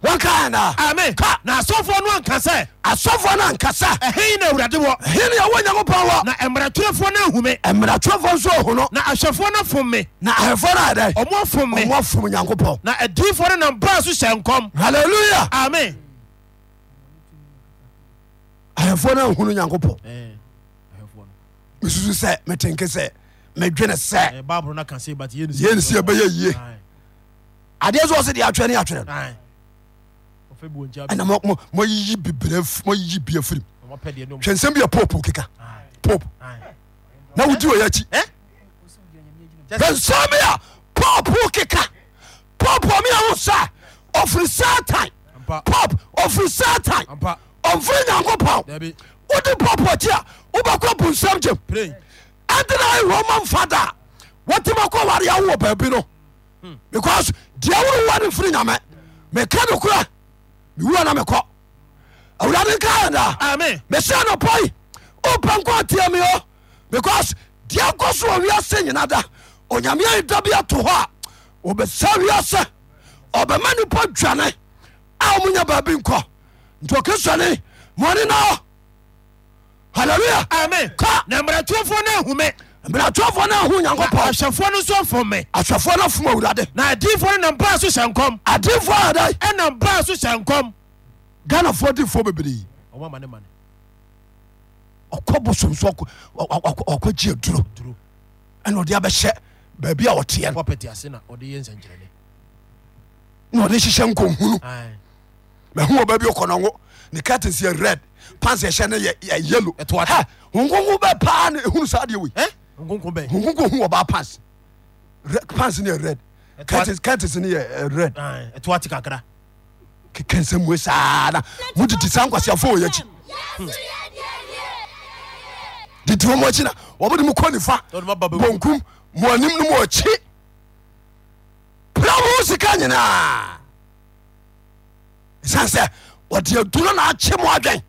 [SPEAKER 1] wɔnka anaa
[SPEAKER 2] ame
[SPEAKER 1] Ka.
[SPEAKER 2] na asɔfoɔ no anka sɛ
[SPEAKER 1] asɔfoɔ no ankasa
[SPEAKER 2] ɛhe na awurade wɔ
[SPEAKER 1] hene ɛwɔ nyankopɔn wɔ
[SPEAKER 2] na mmaratwerɛfoɔ no ahume
[SPEAKER 1] mmeratwerɛfoɔ nso ɔhu no
[SPEAKER 2] na ahyɛfoɔ no fom me
[SPEAKER 1] na ahemfo no adɛ
[SPEAKER 2] ɔmo afom me
[SPEAKER 1] ɔmɔfom nyankopɔn
[SPEAKER 2] na adiyifoɔ no nam baa so hyɛ nkɔm
[SPEAKER 1] halleluya
[SPEAKER 2] ame
[SPEAKER 1] ahemfo no ahunu nyankopɔn mesusu sɛ metenke sɛ medwene sɛ
[SPEAKER 2] bible no ka se but
[SPEAKER 1] yei ne sɛ ɛbɛyɛ yie adeɛ so ɔse deɛ atwerɛ ne atwerɛ no ɛna mo- mo- moyiyi bibire f- moyiyi bia firim hwɛ nsɛm bi a pope keka pope na wodi wɔ yɛakyi hwɛ nsɛm bi a pope keka pope ɔme a wo sa ɔfiri satan
[SPEAKER 2] Ampa.
[SPEAKER 1] pope ɔfiri satan ɔmfiri nyankopɔn wode pɔpɔkyi a wobɛkɔ bu nsɛm gyem ɛdena roma mfada a wɔtema kɔ ware awo wɔ baabi no because deɛ worewa no mfiri nyame meka no kora mewura na mekɔ awurade nkaɛdaa
[SPEAKER 2] ame
[SPEAKER 1] mesɛ no pɔi wopɛ nkɔ atia me o because deɛ nkɔ so wɔ wiase nyina da onyame ayida bi ato hɔ a wɔbɛsa wiase ɔbɛma nipa dwane a ɔmonya baabi nkɔ nti ɔkristoane mɔne na hɔ halleluya
[SPEAKER 2] amen
[SPEAKER 1] Ka.
[SPEAKER 2] na mmaratuofoɔ no ahume
[SPEAKER 1] mmerɛtwerɛfoɔ no aho onyankopɔn
[SPEAKER 2] ahwɛfoɔ no nso afome
[SPEAKER 1] ahwɛfoɔ no fom awurade
[SPEAKER 2] na adiifoɔ no nambaa so hyɛ nkɔm
[SPEAKER 1] adefoɔ ada
[SPEAKER 2] ɛna mbaa so hyɛ nkɔm
[SPEAKER 1] ghanafoɔ difoɔ bebree
[SPEAKER 2] ɔmama ne ma no
[SPEAKER 1] ɔkɔ bosom so ɔkɔgye aduro
[SPEAKER 2] duro
[SPEAKER 1] ɛna ɔde abɛhyɛ baabi a ɔteɛ no
[SPEAKER 2] pɔpɛte ase na ɔde yɛ nsɛnkyerɛne
[SPEAKER 1] na ɔde hyehyɛ nkɔhunu
[SPEAKER 2] Ae.
[SPEAKER 1] mahu wɔ baabi ɔkɔnɔngo ne curtains yɛ red pants ɛhyɛ no yɛ- yɛ yellow
[SPEAKER 2] Ɛtoa to.
[SPEAKER 1] Ha, honkonko bɛ paa ne ɛhunu saa deɛ wei
[SPEAKER 2] Ɛ? nkonko bɛn
[SPEAKER 1] honkonko hu ɔbaa pants Re- pants no yɛ red
[SPEAKER 2] Ɛtoa-
[SPEAKER 1] curtains curtains no yɛ eh, red
[SPEAKER 2] Ae, ɛtoa te kakra
[SPEAKER 1] keka nsɛm wei saa na modidi saa nkwaseafoɔ wɔ yɛakyi didi wɔn akyi na wɔmode mu kɔ nifa
[SPEAKER 2] Na ɔde mo aba bɛwu.
[SPEAKER 1] bonkum moanim no mɔkyi pra mo sika nyinaa ɛsiane sɛ ɔde aduro na akye mo adwen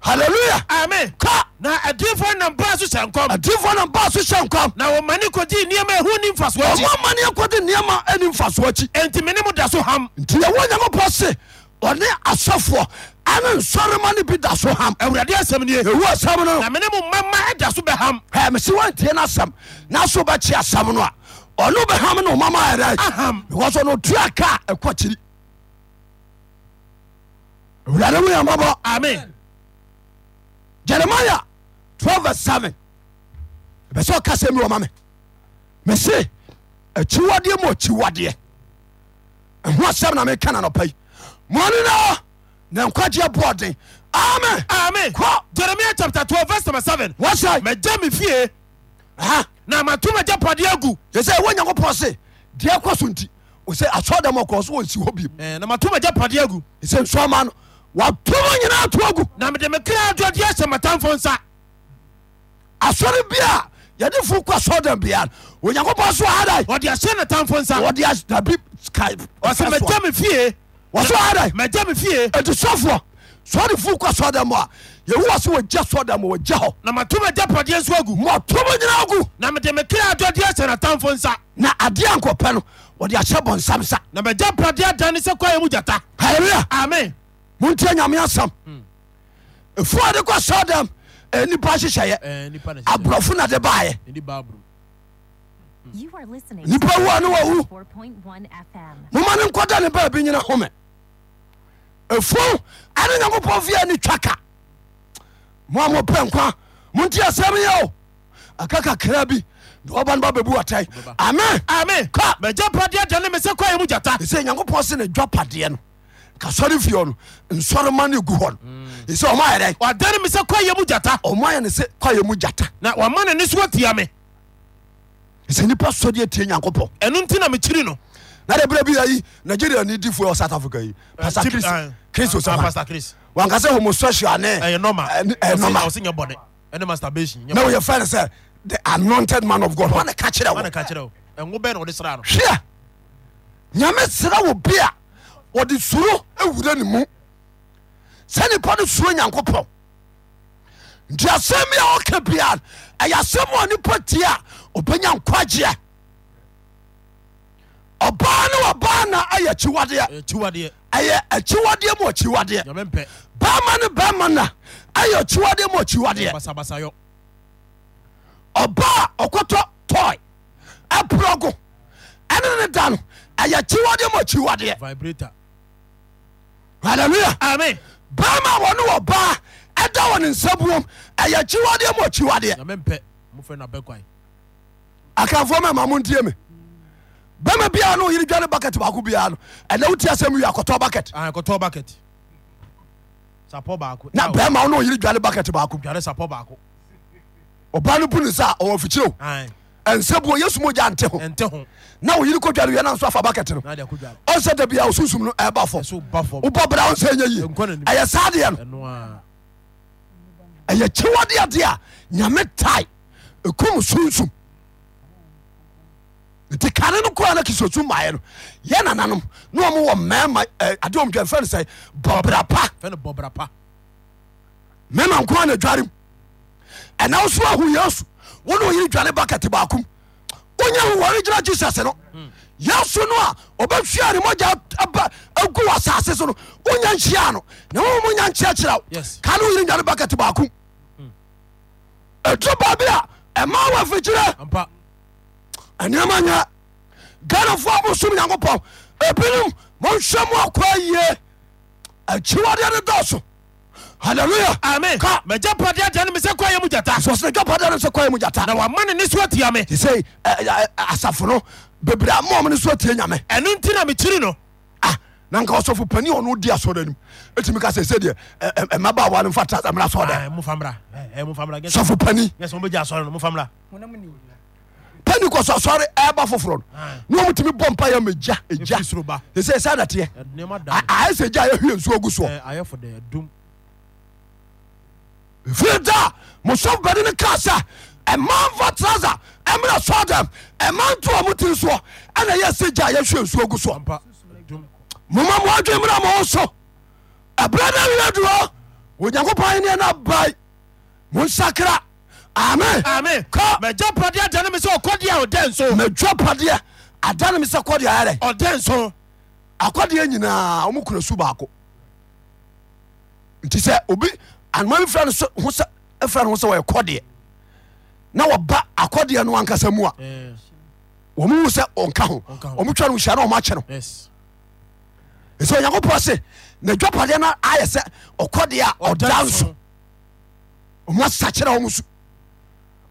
[SPEAKER 1] halleluya
[SPEAKER 2] amen
[SPEAKER 1] ka
[SPEAKER 2] na adiifoɔ no nambaa so hyɛ nkɔm
[SPEAKER 1] adiifoɔ no baa so hyɛ nkɔm
[SPEAKER 2] na wɔmane kɔgyee nneɛma a ɛho ni mfasoɔ akyi
[SPEAKER 1] ɔma mane akɔde nneɛma ani mfasoɔ akyi
[SPEAKER 2] enti mene mo da so ham
[SPEAKER 1] nti yɛwɔ onyankopɔn se ɔne asɔfoɔ ane nsɔrema no bi da so ham
[SPEAKER 2] awurade asɛm nie
[SPEAKER 1] ɛwu asɛm no
[SPEAKER 2] na mene mo mmama ɛda so bɛham
[SPEAKER 1] hɛ mese wantie no asɛm na so wobɛkye asɛm no a ɔno bɛham ne womama
[SPEAKER 2] Aham.
[SPEAKER 1] ɛrɛ because ɔno ɔtua ka a ɛkɔ kyiri awurade wo yɛmabɔ
[SPEAKER 2] amen
[SPEAKER 1] jeremia 12:7 ɛbɛ sɛ ɔka sɛm bi wɔma me mese akyiwadeɛ ma akyiwadeɛ ɛho asɛm na meka na nɔpa yi moane no na nkwagyeɛ boɔden amen
[SPEAKER 2] amen
[SPEAKER 1] Kɔ.
[SPEAKER 2] jeremia chapter 12 verse number 7
[SPEAKER 1] wɔsɛ
[SPEAKER 2] magya me fie na mato m'agyapadeɛ agu
[SPEAKER 1] yɛ sɛ ɛwɔ nyankopɔn se deɛ kɔ so nti ɔsɛ asɔdam ɔkɔɔ so wɔnsi hɔ bio
[SPEAKER 2] Eh, na mato m'agyapadeɛ agu
[SPEAKER 1] ɛsɛ nsɔma no watomo nyinaa to agu
[SPEAKER 2] na mede me kra adwadeɛ ahyɛ matamfo nsa
[SPEAKER 1] asɔre bia yɛde fo kɔ asɔdam bia no onyankopɔn so ada
[SPEAKER 2] ɔde ahyɛ natamfo nsa
[SPEAKER 1] wɔde as- dabi skype
[SPEAKER 2] ɔsɛ magya me fie
[SPEAKER 1] wɔso ada
[SPEAKER 2] magya me fie
[SPEAKER 1] ɛti sɔfoɔ sɔre fo kɔ asɔdam a yɛwuwa so wɔgya sɔdam wɔgya hɔ
[SPEAKER 2] na mato m'agyapadeɛ nso agu
[SPEAKER 1] ma ɔtomo nyinaa agu
[SPEAKER 2] na mede me kra adwadeɛ ahyɛ natamfo nsa
[SPEAKER 1] na adeɛ a nkɔpɛ no wɔde ahyɛ bɔnsam sa
[SPEAKER 2] na m'agyapadeɛ adane sɛ kwaeɛ mu gyata
[SPEAKER 1] halleluya
[SPEAKER 2] amen
[SPEAKER 1] montie nyame asɛm ɛfuɔ de kɔ sɔdam nipa
[SPEAKER 2] Eh.
[SPEAKER 1] hyehyɛeɛ aborɔfo na de baeɛ
[SPEAKER 4] You are listening
[SPEAKER 1] nipa
[SPEAKER 4] to
[SPEAKER 1] wu a ne wawu
[SPEAKER 4] 4.1 FM.
[SPEAKER 1] moma ne nkɔda ne baabi nyina home ɛfo ane nyankopɔn fie ne twa ka mo a mopɛ nkwa monti asɛm yɛ o aka kakra bi na ɔba no ba bɛbu wɔtae amen
[SPEAKER 2] amen
[SPEAKER 1] Kɔ.
[SPEAKER 2] m'agyapadeɛ adane me sɛ kwaeɛ mu gyata
[SPEAKER 1] ɛsɛ nyankopɔn se ne dwa padeɛ no kasɔre fie no nsɔrema no gu hɔ no ɛsɛ ɔma ayɛ dɛn
[SPEAKER 2] ɔdane me sɛ kwaeɛ mu gyata
[SPEAKER 1] ɔma ayɛ ne sɛ kwayɛ mu gyata
[SPEAKER 2] na wama ne ne so atia me
[SPEAKER 1] ɛsɛ nnipa sɔdeɛ tie nyankopɔn
[SPEAKER 2] ɛno nti na mekyiri no
[SPEAKER 1] na de berɛ bi ayi nigeria ne difoɔ wɔ south africa yi pasa
[SPEAKER 2] Tibi-
[SPEAKER 1] Chris-
[SPEAKER 2] Eh, ah,
[SPEAKER 1] kristo
[SPEAKER 2] ah,
[SPEAKER 1] sama
[SPEAKER 2] Pastor Chris. Eh,
[SPEAKER 1] wanka sɛ homosexual ne
[SPEAKER 2] ɛyɛ
[SPEAKER 1] ɛne- ɛyɛ Eh, normal.
[SPEAKER 2] nɔmaɔsɛ nyɛ bɔne ɛne masturbation
[SPEAKER 1] na woyɛ fɛ no sɛ the anointed man of god wane ka kyerɛ
[SPEAKER 2] ane
[SPEAKER 1] wo
[SPEAKER 2] ka kyerɛ wo ɛnwo bɛɛ na wɔde sra no
[SPEAKER 1] hwɛ nyame serɛ wo bi a ɔde suro awura ne mu sɛ nipa no suro nyankopɔn nti asɛm bi a ɔka bia ɛyɛ asɛm a nipa tie a ɔbɛnya nkwagyeɛ ɔbaa ne ɔbaa na ayɛ akyiwadeɛ
[SPEAKER 2] Ɛyɛ kyiwadeɛ
[SPEAKER 1] ɛyɛ akyiwadeɛ ma akyiwadeɛ
[SPEAKER 2] nyame mpɛ
[SPEAKER 1] bɛma ne bɛma na ayɛ akyiwadeɛ ma akyiwadeɛ
[SPEAKER 2] basabasayɔ
[SPEAKER 1] ɔba a ɔkɔtɔ tɔe ɛporɔ go ɛne ne da no ɛyɛ kyiwadeɛ ma kyiwadeɛ
[SPEAKER 2] vibrator
[SPEAKER 1] halleluya
[SPEAKER 2] amen
[SPEAKER 1] bɛma wɔne wɔ baa ɛda wɔ ne nsabuom ɛyɛ kyiwadeɛ ma kyiwadeɛ
[SPEAKER 2] nyame mpɛ mofrɛ no abɛkwae
[SPEAKER 1] akamfoɔ ma ma montie me bɛma biara ne ɔyere dwane bucket baako biara no ɛnɛ wotie asɛm wie akɔtɔ bucket
[SPEAKER 2] kɔtɔ bucket sapɔ baako
[SPEAKER 1] na bɛma wo ne ɔyere dwane bucket baako
[SPEAKER 2] dware sapɔ baako
[SPEAKER 1] ɔba no bu ne sa ɔwɔ fikyirɛw
[SPEAKER 2] Ae,
[SPEAKER 1] ɛnsabuo yesu mogya nte ho
[SPEAKER 2] ɛntɛ ho
[SPEAKER 1] na ɔyere kɔdwane wiɛ no nso afa bucket no
[SPEAKER 2] na de akɔdware
[SPEAKER 1] ɔnsɛ da bia ɔsunsum no ɛba fɔ
[SPEAKER 2] ɛso ba fam
[SPEAKER 1] wobɔ bra wo sɛ ɛnyɛ
[SPEAKER 2] Ɛnkɔ
[SPEAKER 1] yie
[SPEAKER 2] n'anim.
[SPEAKER 1] ɛyɛ saa deɛ no
[SPEAKER 2] ɛno a
[SPEAKER 1] ɛyɛ kyiwadeade a nyame tae ɛkum sunsum nti kane no koraa no kisosu maɛ no yɛ nananom ne ɔmowɔ mmarima ade ɔmdwamfɛ no sɛ bɔbra pa
[SPEAKER 2] fɛ no bɔbra pa
[SPEAKER 1] mɛma nkoa na dware m ɛna wo so ahu yesu wo ne ɔyere dwane bakɛte baakom wonya wowɔre gyina jesus no yesu no a ɔbɛhwia ne mogya aba agu wɔ asase so no wonya nhyia no na womo nya nkyerɛkyerɛ wo
[SPEAKER 2] Yes.
[SPEAKER 1] ka ne woyere nyane bakɛte baako ɛduro baabi a ɛma wɔ afikyerɛ
[SPEAKER 2] ampa
[SPEAKER 1] ɛnneɛma nyɛ ghanafoɔ a mosom nyankopɔn ebinom monhwɛ mo akɔa yie akyiwadeɛ ne dɔso
[SPEAKER 2] amen
[SPEAKER 1] halleluya ka
[SPEAKER 2] magya pɔde agya no me sɛ kɔyɛ mu gyata
[SPEAKER 1] sɔsene gapadeɛ no sɛ kɔɛ mu
[SPEAKER 2] na
[SPEAKER 1] gyata
[SPEAKER 2] wama ne ne so atia me
[SPEAKER 1] te sɛ "Eh, asafo no bebree amɔm ne so atie nyame
[SPEAKER 2] ɛno nti na mekyiri no
[SPEAKER 1] Ah, na nka ɔsɔfo pani a ɔno di asɔre anim ɛtumi ka sɛ sɛdeɛ ɛmaba wa no mfa trasamra sɔ dɛ
[SPEAKER 2] mfamra
[SPEAKER 1] sɔfo pani
[SPEAKER 2] sɛmobɛgya asɔre no mofamra
[SPEAKER 3] honam ni
[SPEAKER 1] pani kɔ sɔ asɔre ɛba foforɔ no na ɔmutumi bɔ mpa yɛ megya
[SPEAKER 2] Ɛfiri soro
[SPEAKER 1] ɛgya
[SPEAKER 2] ba.
[SPEAKER 1] te sɛ ɛsa dateɛ
[SPEAKER 2] nneɛma da
[SPEAKER 1] ayɛ sɛ gya yɛhwie nsuo gu soɔ
[SPEAKER 2] ayɛfo dɛ dum
[SPEAKER 1] firi da mosɔfo pani no ka sɛ ɛma mfa trasa ɛmra sɔ dɛm ɛma nto a motiri soɔ ɛna yɛ sɛ gya yɛhwie nsuo gu soɔ
[SPEAKER 2] ampa dum
[SPEAKER 1] moma mo adwe mmra mo ho so ɛberɛ no werɛ duro onyankopɔn ɛneɛ no bae monsakra amen
[SPEAKER 2] ame
[SPEAKER 1] Ka.
[SPEAKER 2] magya pɔde agya no me sɛ ɔkɔdeɛ a ɔdɛ nso
[SPEAKER 1] madwa padeɛ ada no me sɛ kɔdeɛ ayɛdɛ
[SPEAKER 2] ɔdɛ nso
[SPEAKER 1] akɔdeɛ nyinaa ɔmo kura su baako nti sɛ obi anoma bi fra no so- ho sɛ ɛfra no ho sɛ wɔyɛ kɔdeɛ na wɔba akɔdeɛ no ankasa mu a wɔmohu sɛ ɔnka ho
[SPEAKER 2] Ɔnka ho.
[SPEAKER 1] ɔmotwa no hyia na ɔmakyɛ no
[SPEAKER 2] yes
[SPEAKER 1] ɛsɛ onyankopɔn se na dwapadeɛ no ayɛ sɛ ɔkɔdeɛ a ɔda nso ɔmo asakyerɛ ɔmo so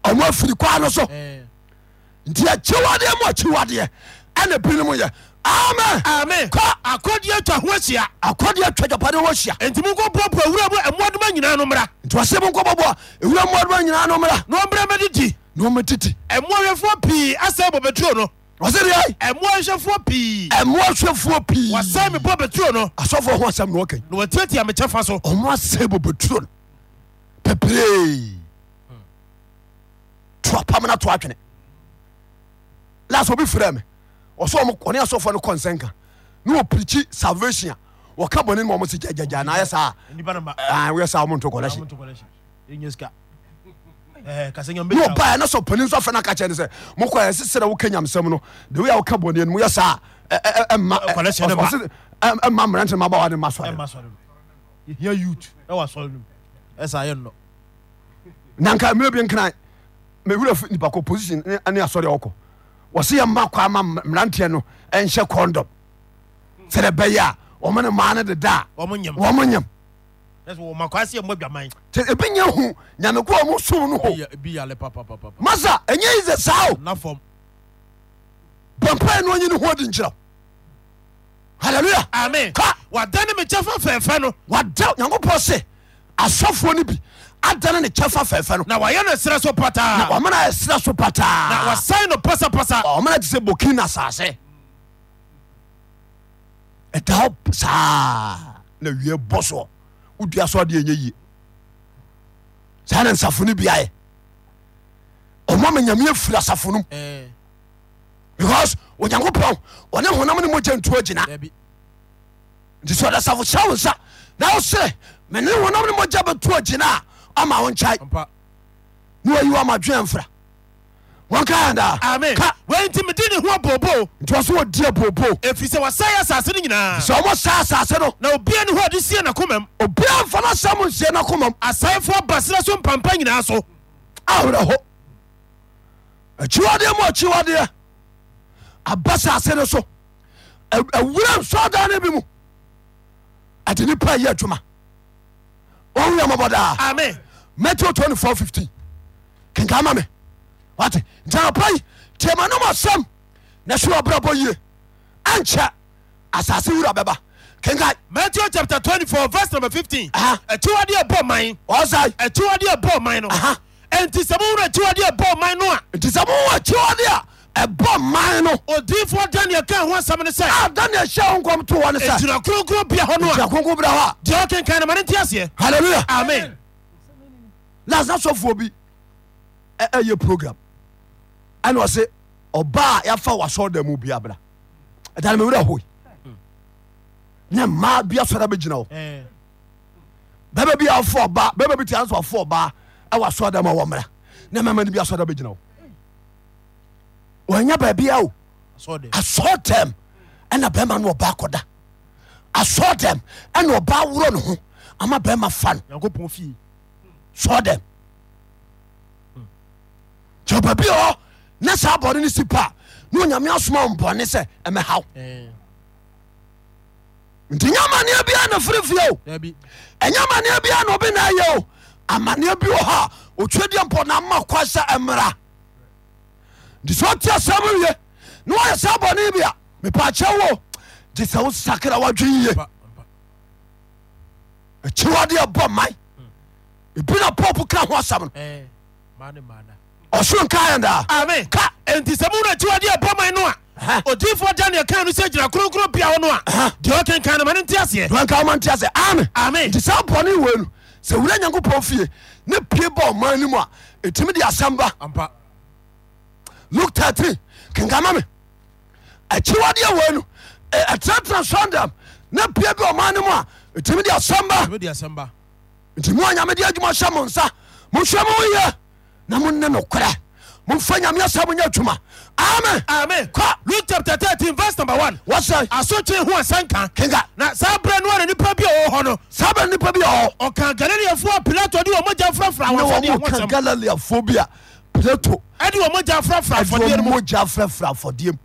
[SPEAKER 1] ɔmo afiri kwaa no so nti akyiwadeɛ mu akyiwadeɛ ɛna binom yɛ amen
[SPEAKER 2] ame
[SPEAKER 1] Ka.
[SPEAKER 2] akɔdeɛ atwa ho ahyia
[SPEAKER 1] akɔdeɛ twa dwapadeɛ hɔ hyia
[SPEAKER 2] enti monkɔboaboa wura mu ɛmmoadoma nyinaa no mmra
[SPEAKER 1] nti wɔse mo nkɔbɔbɔ a ɛwura mmoadoma nyinaa no mmra
[SPEAKER 2] na ɔmmra mɛdedi
[SPEAKER 1] na ɔmatiti
[SPEAKER 2] ɛmmoahwɛfoɔ pii asɛe bɔ bɛturo no
[SPEAKER 1] ɔse deɛ
[SPEAKER 2] ɛmmoahwɛfoɔ pii
[SPEAKER 1] ɛmoa suafoɔ pii
[SPEAKER 2] wɔsɛe me bɔ bɛturo no
[SPEAKER 1] asɔfoɔ ho asɛm na ɔkai
[SPEAKER 2] na wɔtiatia me kyɛfa so
[SPEAKER 1] ɔmo asɛ boboturo no pebree toa pam no to atwene las obi frɛ me ɔsɛ ɔmo- ɔne asɔfoɔ no kɔnsɛnka na wɔpirikyi salvation a wɔka bɔne no ma ɔmo se gyagyagya na ayɛ saa a, ah, woyɛ saa ɔmo nto kɔlɛhye ne ɔbaɛ na sɛ ɔpani nso afɛ no aka kyɛ ne sɛ mokɔɛ seserɛ woka nyamsɛm no de wei a woka bɔne no moyɛ saa a, ɛ- ɛ- ɛ- ɛmma ɛ-
[SPEAKER 2] Collection no ba.
[SPEAKER 1] ɔse- ɛ- ɛmma mmerante no mabawa ne ma sɔre nanka mmerɛ bi nkran mewura fi nipa kɔ position ne ne asɔre a wɔkɔ wɔse yɛmma kɔ ama m- mmeranteɛ no ɛnhyɛ kɔndɔm sɛdɛ bɛyɛ a ɔmo ne maa no deda a wɔmo nyam nti ebi nya hu nyame ko a ɔmo som no ho masa ɛnyɛ yi sɛ saa o bɔmpae no ɔnye ne ho adi nkyerɛw halleluya
[SPEAKER 2] ame
[SPEAKER 1] Ka.
[SPEAKER 2] wadane me kyɛfa fɛfɛ no
[SPEAKER 1] wada nyankopɔn se asɔfoɔ no bi adane ne kyɛfa fɛfɛ no
[SPEAKER 2] na wayɛ no serɛ so pataa
[SPEAKER 1] ɔmana ɛsra so
[SPEAKER 2] na
[SPEAKER 1] pataa
[SPEAKER 2] wasae no pasapasa
[SPEAKER 1] ɔmana te sɛ bokina asase ɛda hɔ saa na wie bɔ soɔ wodua so ade ɛnyɛ yie saa na nsafo no biaɛ ɔma ma nyame afiri asafo no mu because onyankopɔn ɔne honam ne mogya ntuo gyina nti sɛ ɔde asafo hyɛ wo nsa na wo serɛ mene honam ne mogya bɛtuo gyina a ɔma wo nkyae ne wayi wɔ amadwea mfra wɔnka
[SPEAKER 2] ame
[SPEAKER 1] ɛdaa ka
[SPEAKER 2] wei nti mede ne ho abobo
[SPEAKER 1] nti wɔ so wɔdi abooboo
[SPEAKER 2] ɛfiri sɛ wasae asase no nyinaa
[SPEAKER 1] sɛ ɔmɔ saa asase no
[SPEAKER 2] na obia ne ho ade sie nakomam
[SPEAKER 1] obia mfa no asɛm nsie no komam
[SPEAKER 2] asaefoɔ ba serɛ so mpampa nyinaa so
[SPEAKER 1] awerɛho akyiwadeɛ mu akyiwadeɛ aba sase no so aw- awura nsɔda no bi mu ɛde nipa yɛ adwuma ɔwuyɛ mɔbɔ daa
[SPEAKER 2] ame
[SPEAKER 1] matthew 2415 kenka ma me wate ntanapa yi tiama no ma asɛm na soro ɔbrabɔ yie ankyɛ asase wura bɛba kenka
[SPEAKER 2] matthew chapter 24 verse number 15
[SPEAKER 1] Aha.
[SPEAKER 2] akyiwadeɛ ɛbɔ man
[SPEAKER 1] ɔsae
[SPEAKER 2] akyiwadeɛ ɛbɔ man no
[SPEAKER 1] Aha.
[SPEAKER 2] enti sɛ mowura akyiwadeɛ ɛbɔ man no a
[SPEAKER 1] nti sɛ mowɔ akyiwadeɛ a ɛbɔ man no
[SPEAKER 2] odiifoɔ daniel ka ho asɛm no sɛ
[SPEAKER 1] a Ah, daniel hyɛ wo nkɔm to wɔ ne sɛ
[SPEAKER 2] ɛgyina kronkron bia hɔ no a
[SPEAKER 1] akonko bra hɔ a
[SPEAKER 2] deɛ ɔkenkan no ma ne nte aseɛ
[SPEAKER 1] halleluya
[SPEAKER 2] amen
[SPEAKER 1] lasa sɔfoɔ bi ɛ- ɛyɛ program ɛne ɔse ɔba a yɛafa wasɔre da mu bi abra ɛdane mewerɛ hoi ne mmaa bi asɔre bɛgyina hɔ bɛbɛ bi afo ɔba bɛbɛ bi tia nso Eh, afo ɔba ɛwɔ asɔre da mu a wɔmmra ne mɛma no bi asɔre da bɛgyina hɔ wɔanya baabia o
[SPEAKER 2] asɔ de
[SPEAKER 1] asɔɔ dɛm ɛna bɛrima no ɔba akɔda asɔɔ dɛm ɛna ɔba worɔ ne ho ama bɛrima fa no
[SPEAKER 2] nyankopɔn fie
[SPEAKER 1] sɔɔ dɛm kyɛ baabi hɔ na saa bɔne no si pa a na onyame asoma wo mbɔne sɛ ɛmɛhaw
[SPEAKER 2] Ɛɛ,
[SPEAKER 1] nti nyɛ amanneɛ biaa na fere fie o
[SPEAKER 2] dabi
[SPEAKER 1] ɛnyɛ amanneɛ biaa na obi na ayɛ o amanneɛ bi wɔ hɔ a otwadeɛ mpɔ na ma kwa sɛ ɛmmra nti sɛ ɔte asɛm wie na wɔyɛ saa bɔne bi a mepaakyɛ wo gye sɛ wo sakra woadwen yie
[SPEAKER 2] pa pa
[SPEAKER 1] akyiwadeɛ bɔ man ebi na pɔpo ka ho asɛm no
[SPEAKER 2] ɛɛ maa ne maa da.
[SPEAKER 1] ɔsoro nkaɛ daa
[SPEAKER 2] ami ka nti sɛ mu na akyiwadeɛ ɛbɔ man no
[SPEAKER 1] Ɛhɛ.
[SPEAKER 2] a odiyifoɔ daniel kan no sɛ gyina kronkron bia hɔ no a deɛ ɔkenkan no ma ne nte aseɛ
[SPEAKER 1] wanka womantea sɛ ame
[SPEAKER 2] Amen.
[SPEAKER 1] nti saa bɔne wei no sɛ wura nyankopɔn fie ne pie ba ɔma anim a ɛtumi de asɛm ba
[SPEAKER 2] ampa
[SPEAKER 1] luke 13 kenkama me akyiwadeɛ wei no ɛ- ɛtenatena sɔndam ne pie bi ɔma anim a ɛtumi de asɛm ba
[SPEAKER 2] ɛbɛdi asɛm ba
[SPEAKER 1] nti mo a nyame de adwuma hyɛ mo nsa mohwɛ mo woyɛ na mone nokorɛ momfa nyame asɛm nyɛ adwuma ame
[SPEAKER 2] ami
[SPEAKER 1] Kɔ.
[SPEAKER 2] luke chapter thirteen verse number one
[SPEAKER 1] wɔsɛ
[SPEAKER 2] asotwe ho asɛnka
[SPEAKER 1] kenka
[SPEAKER 2] na saa berɛ no a na nipa bi a ɔwɔ hɔ no
[SPEAKER 1] saa bɛ nnipa bi ɔhɔ
[SPEAKER 2] ɔka galileafoɔ a pilato de ɔmɔgya frafra
[SPEAKER 1] na
[SPEAKER 2] awɔfɔdeɛ
[SPEAKER 1] wɔmo ka
[SPEAKER 2] ho nsɛm
[SPEAKER 1] galileafoɔ bi a pilato
[SPEAKER 2] ɛde ɔmɔgya frafra afɔdeɛ no mu
[SPEAKER 1] mogya frɛfrɛ afɔdeɛ mu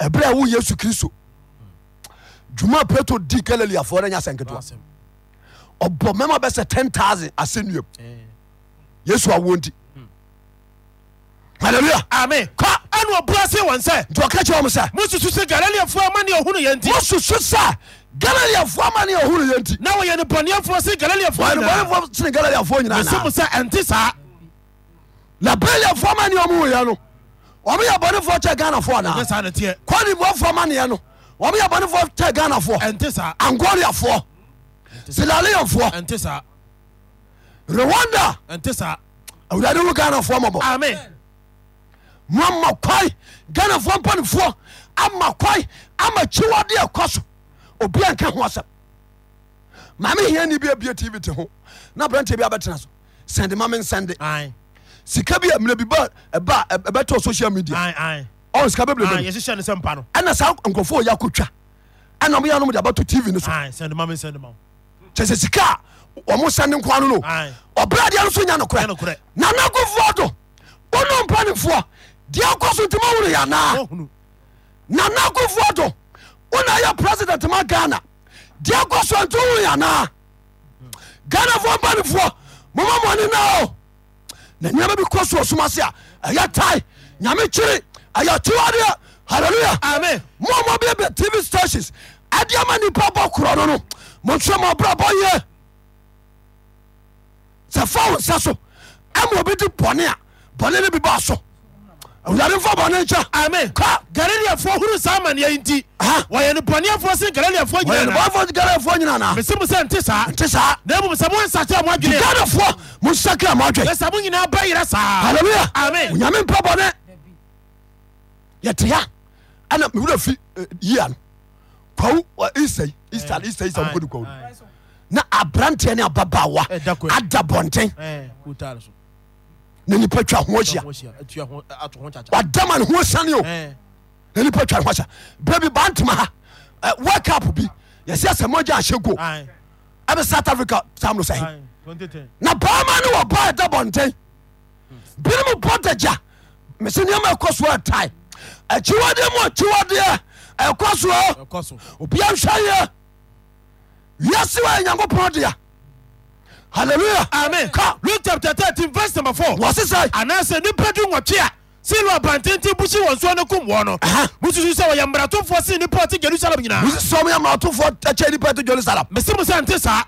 [SPEAKER 1] ɛberɛ a wo yesu kristo dwuma a petro di galileafoɔ no nya sɛ nketewa
[SPEAKER 2] Asɛm.
[SPEAKER 1] ɔbɔ mɛma bɛsɛ 10000 asɛnnuam
[SPEAKER 2] Ɛɛ.
[SPEAKER 1] yesu awo nti halleluya
[SPEAKER 2] ami
[SPEAKER 1] Kɔ.
[SPEAKER 2] ɛne ɔbua se wɔn sɛ
[SPEAKER 1] nti ɔka kyerɛ wɔm sɛ
[SPEAKER 2] mosusu sɛ galileafoɔ ama ne ɔhunu yɛ nti
[SPEAKER 1] mosusu sɛ galileafoɔ ma ne ɛhunu yɛ nti
[SPEAKER 2] na wɔyɛ nebɔneɛfoɔ se galileafoɔ nyinaa.
[SPEAKER 1] bɔnefoɔ sene galileafoɔ
[SPEAKER 2] mese mo
[SPEAKER 1] nyinaa
[SPEAKER 2] sɛ ɛnte saa
[SPEAKER 1] na beliafoɔ ma ne ɔmowoyɛ no ɔmeyɛ bɔnefoɔ kyɛ ghanafoɔ
[SPEAKER 2] ne
[SPEAKER 1] anaa
[SPEAKER 2] saa ne teɛ
[SPEAKER 1] kwanebuafoɔ ma neɛ no ɔmeyɛ bɔnefoɔ kyɛ ghanafoɔ
[SPEAKER 2] ɛnte saa
[SPEAKER 1] angoliafoɔ silaleafoɔ
[SPEAKER 2] ɛnte saa
[SPEAKER 1] rwanda
[SPEAKER 2] ɛnte saa
[SPEAKER 1] awurade wo ghanafoɔ mɔbɔ
[SPEAKER 2] ame
[SPEAKER 1] moama kwae ghanafoɔ mpanefoɔ ama kwae ama kyiwadeɛ ɛkɔ so obia nka ho asɛm maame hiani bi abie tv te ho na aberanteɛ bi abɛtena so sɛnde ma me nsɛnde
[SPEAKER 2] ae
[SPEAKER 1] sika bi a mmerɛ bi ba ɛba ɛb- ɛbɛtɔ social media
[SPEAKER 2] ae ae
[SPEAKER 1] ɔ sika bebrebe
[SPEAKER 2] yɛhyehyɛ ne sɛ mpa no
[SPEAKER 1] ɛna saa nkurɔfoɔ yɛ akɔtwa ɛna ɔmoyɛ nom de abɛto tv no so
[SPEAKER 2] ae sɛne ma me sɛne ma wo
[SPEAKER 1] kyɛ sɛ sika a ɔmo sɛne nkoa no no
[SPEAKER 2] Aye.
[SPEAKER 1] ɔbradeɛ no so nya
[SPEAKER 2] Nya
[SPEAKER 1] nokorɛ
[SPEAKER 2] nokorɛ.
[SPEAKER 1] nanakofoɔ do wono mpanefoɔ deɛ kɔ so ntima wono yɛ anaa
[SPEAKER 2] ɔhunu
[SPEAKER 1] nanakofoɔ do wona yɛ president ma ghana deɛ kɔ so nti wono yɛ anaa ghanafoɔ mpanefoɔ moma mɔne na o na nneɛma bi kɔ so ɔsom ase a ɛyɛ tae nyame kyiri ɛyɛ kyiwadeɛ halleluya
[SPEAKER 2] ame
[SPEAKER 1] mɔmɔ bi bɛ tv stations adiama nipa bɔ korɔ no no mɔtwɛ mɔ ɔbrɛ bɔ yɛ sɛ fa wo nsa so ama obi di bɔne a bɔne no bi ba so awurade mfa bɔne nkyɛ
[SPEAKER 2] ame
[SPEAKER 1] Kɔ.
[SPEAKER 2] galileafoɔ hunu saa amanneɛ yi nti
[SPEAKER 1] Aha.
[SPEAKER 2] wɔyɛ nebɔneɛfoɔ se galileafoɔ
[SPEAKER 1] wɔyɛ
[SPEAKER 2] nyinaa
[SPEAKER 1] nebɔfo ganafoɔ nyina naa
[SPEAKER 2] mese mo sɛ nte saa
[SPEAKER 1] nte saa
[SPEAKER 2] na mmom sɛ monsakyerɛ mo adwene a,
[SPEAKER 1] ganafoɔ mo nsa kra mo adwɛ
[SPEAKER 2] na sɛ mo nyinaa bɛyerɛ saa
[SPEAKER 1] halleluya
[SPEAKER 2] Amen.
[SPEAKER 1] onyame mpa bɔne yɛte ha ana mewura fi eh, yia no kwawu isai isa isa isa mokɔde kwawu no
[SPEAKER 2] Ae.
[SPEAKER 1] na abranteɛ ne ababaawa
[SPEAKER 2] Ɛda kɔ.
[SPEAKER 1] ada bɔnten
[SPEAKER 2] Ɛɛ, wotaa no so.
[SPEAKER 1] na nipa twa ho
[SPEAKER 2] Atwa ho
[SPEAKER 1] ahyia
[SPEAKER 2] ahyia, atua ho- ato ho kyakya.
[SPEAKER 1] wadama ne ho sane o
[SPEAKER 2] Ɛɛ,
[SPEAKER 1] na nipa twa oh. ne ho ahyia berɛ bi bantema ha wakap Eh, bi yɛsɛ sɛ mogya ahyɛ go
[SPEAKER 2] ae,
[SPEAKER 1] ɛbɛ south africa sam no sɛhe
[SPEAKER 2] ae, 2010.
[SPEAKER 1] na baama ne wɔba ɛda bɔnten binom bɔdagya mese nneɛma ɛkɔ so ɛtae akyiwadeɛ mu akyiwadeɛ ɛkɔ so o
[SPEAKER 2] Ɛkɔ so.
[SPEAKER 1] obia nhwɛ yɛ wiase wa yɛ nyankopɔn dea
[SPEAKER 2] Amen.
[SPEAKER 1] halleluya ka
[SPEAKER 2] luke chapter thirteen verse number four.
[SPEAKER 1] wɔse sɛ
[SPEAKER 2] anaasɛ nipa du nwɔtwe a silo abantenten bu si wɔn soɔ no kum wɔn no
[SPEAKER 1] Aha.
[SPEAKER 2] mususu sɛ wɔyɛ mmaratofoɔ se nipa ɔte jerusalem nyinaa
[SPEAKER 1] wosi sɔm yɛ maatofoɔ akyɛ nipa to jerusalem
[SPEAKER 2] mese mo sɛ nte saa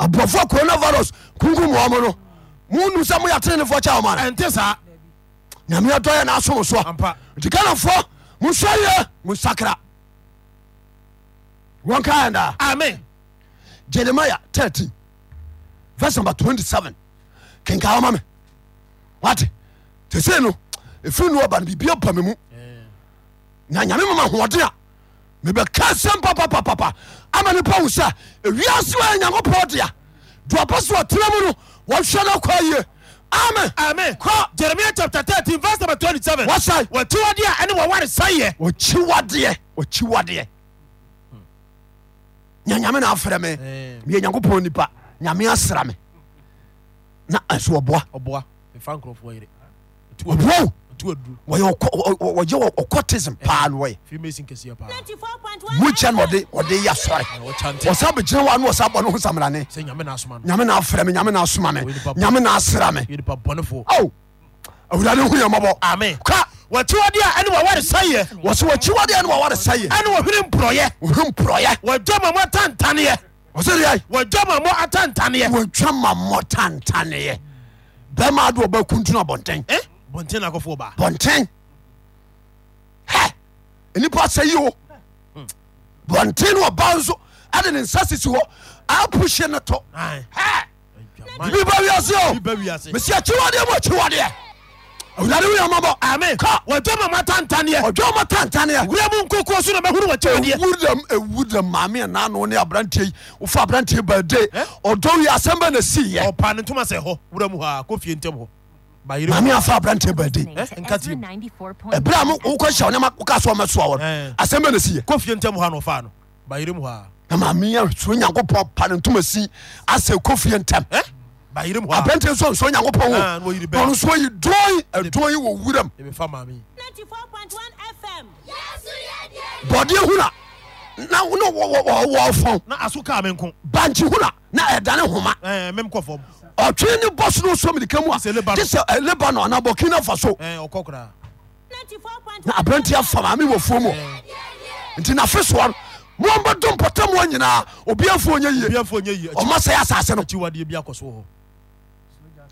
[SPEAKER 1] aborɔfoɔ coronavirus kunkum wɔ mo no monu sɛ moyɛ tenenefoɔ kyɛ wɔma no
[SPEAKER 2] ɛnte saa
[SPEAKER 1] nyame dɔyɛ na asom soɔ
[SPEAKER 2] ampa
[SPEAKER 1] nti ghanafoɔ monsɛ yɛ mo sakra wɔnka ɛndaa
[SPEAKER 2] amen
[SPEAKER 1] jeremia 13 vers number 27 kenka wama me wate te sei no ɛfiri no ɔba no biribia pa me mu na nyame mama hoɔden a mebɛka sɛm papapapapa ama nipa wo sɛ ewiase wa yɛ nyankopɔn dea duapa so ɔtena mu no wɔhwɛ no kɔ yie amen
[SPEAKER 2] amen kɔ jeremia chapter thirteen verse number twenty seven
[SPEAKER 1] wɔsae
[SPEAKER 2] wɔtiwɔde a ɛne wɔware sayɛ
[SPEAKER 1] ɔkyiwadeɛ ɔkyiwadeɛ nya nyame na afrɛ me
[SPEAKER 2] Mm.
[SPEAKER 1] meyɛ nyankopɔn nipa nyame asra me na ɛso ɔboa
[SPEAKER 2] ɔboa mfa nkurɔfoɔ yere
[SPEAKER 1] ɔboa
[SPEAKER 2] tuaduru
[SPEAKER 1] o wɔyɛ ɔkɔ- ɔ- ɔ- ɔyɛ ɔkɔtism paa no wɔyɛ
[SPEAKER 2] fimasin kɛseɛ paa
[SPEAKER 1] mukyɛ no ɔde ɔde yɛ asɔre
[SPEAKER 2] wɔkyante
[SPEAKER 1] ɔsa bɛgyina wa ne ɔsa bɔ ne ho samrane
[SPEAKER 2] sɛ nyame na asoma no
[SPEAKER 1] nyame na afrɛ me nyame na asoma me nyame na asra me
[SPEAKER 2] yɛ nipa bɔnefoɔ
[SPEAKER 1] ao awurade hu yɛmmɔbɔ
[SPEAKER 2] amen
[SPEAKER 1] ka
[SPEAKER 2] Hmm. wɔtiwɔde a ɛne wɔware sayɛ
[SPEAKER 1] wɔ sɛ wɔkyiwadeɛ ne wɔware sa yɛ
[SPEAKER 2] ɛne wɔhwene mporɔyɛ
[SPEAKER 1] wohu mporɔyɛ
[SPEAKER 2] wɔdwa ma mo atantaneɛ
[SPEAKER 1] ɔsɛdeɛ
[SPEAKER 2] wɔdwa ma mo atantaneɛ
[SPEAKER 1] wɔtwa ma mmɔ tantaneɛ bɛma de ɔbɛkuntunu abɔnten
[SPEAKER 2] Eh? bɔnten na akɔfoɔ baa
[SPEAKER 1] bɔnten hɛ nipa sɛ yi o
[SPEAKER 2] Hmm.
[SPEAKER 1] bɔnten no ɔba nso ɛde ne nsa sisi hɔ apuhye no to
[SPEAKER 2] Aye.
[SPEAKER 1] hɛ
[SPEAKER 2] Adwaman.
[SPEAKER 1] bibi ba wiase o
[SPEAKER 2] Bi Ah. ba wiase.
[SPEAKER 1] mesi akyiwadeɛ mu akyiwadeɛ awurade woyɛ mabɔ
[SPEAKER 2] amen
[SPEAKER 1] Ka.
[SPEAKER 2] wɔdwa ma mo atantaneɛ
[SPEAKER 1] ɔdwa ma tantaneɛ
[SPEAKER 2] wura mu nkokoɔ so na mɛhunu wɔtiwɔdeɛ
[SPEAKER 1] wudam ewudam maame ɛnano ne aberanteɛ yi wofa aberanteɛ baade
[SPEAKER 2] Eh?
[SPEAKER 1] ɔdɔ yi asɛm bɛ na siiyɛ
[SPEAKER 2] ɔpa ne ntoma sɛ hɔ wura mu hɔ a kɔ fie ntɛm hɔ bayere
[SPEAKER 1] maame afa aberanteɛ baade
[SPEAKER 2] nkati mu.
[SPEAKER 1] ɛberɛ a Eh, mo- wokɔ hyɛ nɛma woka sɛ ɔmɛsoa wɔ
[SPEAKER 2] Eh.
[SPEAKER 1] asɛm bɛ na siiyɛ
[SPEAKER 2] kɔ fie ntɛm hɔ a na ɔfaa no bayere mu hɔ a
[SPEAKER 1] na maame yi suro nyankopɔn pa ne ntoma si asɛ kofie ntɛm
[SPEAKER 2] Eh? bayere mu hɔ
[SPEAKER 1] abrɛnte nso nsuro
[SPEAKER 2] Ah,
[SPEAKER 1] nyankopɔn
[SPEAKER 2] na
[SPEAKER 1] o
[SPEAKER 2] oyi ne bɛn.
[SPEAKER 1] ɔno nso yi dɔn ɛdɔn yi wɔ wuram
[SPEAKER 2] a ɛbɛfa maame yi
[SPEAKER 1] bɔdeɛ huna na na wɔ- wɔ- wɔ fɔn
[SPEAKER 2] na aso kaa me nko
[SPEAKER 1] bankye huna na ɛdane homa
[SPEAKER 2] Eh, mem kɔ fam
[SPEAKER 1] ɔtwe ne bɔ so no nso mirika mu a
[SPEAKER 2] Te sɛ Lebanon.
[SPEAKER 1] te sɛ eh, lebanon ana burkina faso
[SPEAKER 2] Eh, ɔkɔ koraa
[SPEAKER 1] na abrɛnte afa maame wɔ fuo mu
[SPEAKER 2] Eh,
[SPEAKER 1] nti nafe soɔ no moambɛdo mpɔtamoa nyinaa obiafoɔ nyɛ yie
[SPEAKER 2] biamfoɔ nyɛ yi akyi-
[SPEAKER 1] ɔma sɛe asase no
[SPEAKER 2] akyiwadeɛ bi akɔ so wɔ hɔ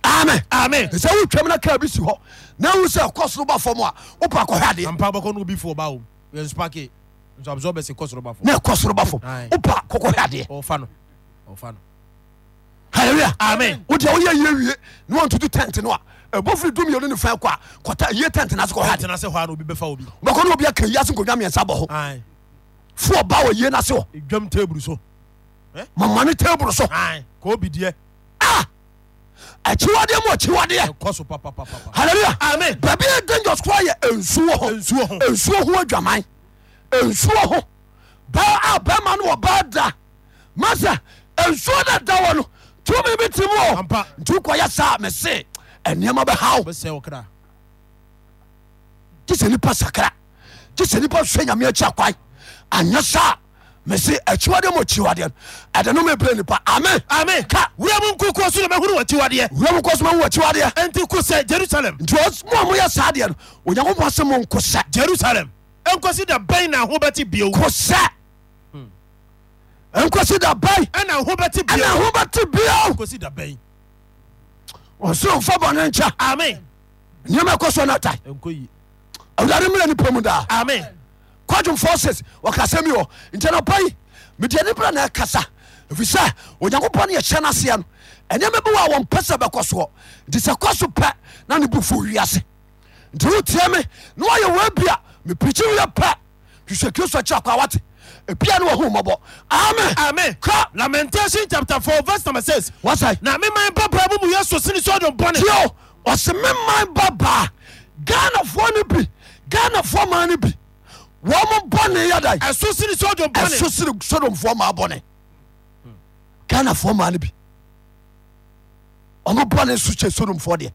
[SPEAKER 1] amen
[SPEAKER 2] amen
[SPEAKER 1] sɛ wotwam no kaa bi si hɔ na wu sɛ ɛkɔ soro ba fam a wopa kɔhɛ adeɛ
[SPEAKER 2] ampa bɔkɔ no obi fo ɔba wo yɛn spake nso absorb bɛsi kɔ soro bafo
[SPEAKER 1] na ɛkɔ soro ba fam
[SPEAKER 2] Aye.
[SPEAKER 1] wopa kɔkɔhwɛ adeɛ
[SPEAKER 2] ɔfa no ɔfa no
[SPEAKER 1] halleluya
[SPEAKER 2] Amen.
[SPEAKER 1] wode a woyɛ yie wie na wantutu tent no a ɛbɔfiri dumyɛno ne fan kɔ a kɔta yie tent no ase kɔhwɛ adeɛ
[SPEAKER 2] tena sɛ hɔ a na obi bɛfa wo bi
[SPEAKER 1] wobɛkɔ ne obi aka yi ase nkonnwa miɛnsa bɔ ho
[SPEAKER 2] Aye.
[SPEAKER 1] fo ɔba wɔ yie no ase hɔ
[SPEAKER 2] dwam table so
[SPEAKER 1] mamane table so Ah!
[SPEAKER 2] Aye. ka obi deɛ
[SPEAKER 1] akyiwadeɛ mu akyiwadeɛ
[SPEAKER 2] ɛkɔ so papapapapa
[SPEAKER 1] halleluya
[SPEAKER 2] Amen.
[SPEAKER 1] baabi a dangerous koraa yɛ nsuo hɔ
[SPEAKER 2] Nsuo ho.
[SPEAKER 1] nsuo ho adwaman nsuo ho baa a bɛma no wɔ baa da masa nsuo da da wɔ no tumi bi tim wɔ
[SPEAKER 2] Ampa.
[SPEAKER 1] nti wokɔyɛ saa mese ɛnneɛma bɛhaw
[SPEAKER 2] bɛsɛ wo kra
[SPEAKER 1] gye sɛ nipa sakra gye sɛ nipa hwɛ nyame akyi akwan anyɛ saa mese akyiwadeɛ ma akyiwadeɛ no ɛde no mebrɛ nipa amen
[SPEAKER 2] amen
[SPEAKER 1] Ka.
[SPEAKER 2] wura mu nkokoɔ so na mɛhunu wɔkyiwadeɛ
[SPEAKER 1] wura mu kɔ soma wo akyiwadeɛ
[SPEAKER 2] ɛnti ko sɛ jerusalem
[SPEAKER 1] nti ɔs- mo a moyɛ saa deɛ no onyankopɔn sɛ mo nko sɛ
[SPEAKER 2] jerusalem ɛnkɔsi da bɛn na ho bɛte bio
[SPEAKER 1] ko sɛ nkɔsi da bai
[SPEAKER 2] ɛna ho bɛte
[SPEAKER 1] ɛna
[SPEAKER 2] bio
[SPEAKER 1] ho bɛte bio
[SPEAKER 2] ɛnkɔsi da bɛn
[SPEAKER 1] ɔsoro mfa bɔne nkyɛ
[SPEAKER 2] amen
[SPEAKER 1] nneɛma ɛkɔ so no tae
[SPEAKER 2] ɛnkɔ yi
[SPEAKER 1] awurade mmerɛ nipa mu daa
[SPEAKER 2] amen
[SPEAKER 1] kwadwom forces ɔkasa mi wɔ nti nɔpa yi medeɛ ne berɛ na ɛkasa ɛfiri sɛ onyankopɔn ne yɛhyɛ no aseɛ no ɛnneɛma bi wɔ a wɔmpɛ sɛ bɛkɔ soɔ nti sɛ kɔ so pɛ na ne bo fo wiase nti wotie me na woayɛ wɔ bi a mepirikyi wiɛ pɛ hwehwɛ kristo akyi akɔ a wate ebia ne wɔho mmɔbɔ amen
[SPEAKER 2] amen
[SPEAKER 1] Ka.
[SPEAKER 2] lamentation chapter four verse number six
[SPEAKER 1] wasae
[SPEAKER 2] na mema mpapra mu mu yɛ so sene sodom bɔne
[SPEAKER 1] tio ɔse me man babaa ghanafoɔ no bi ghanafoɔ ma no bi wɔmo bɔne yɛdae
[SPEAKER 2] ɛso sene sodom
[SPEAKER 1] ɛso
[SPEAKER 2] bɔne
[SPEAKER 1] sere sodomfoɔ maa bɔne ghanafoɔ maa no bi ɔmo bɔne so kyɛ sodomfoɔ deɛ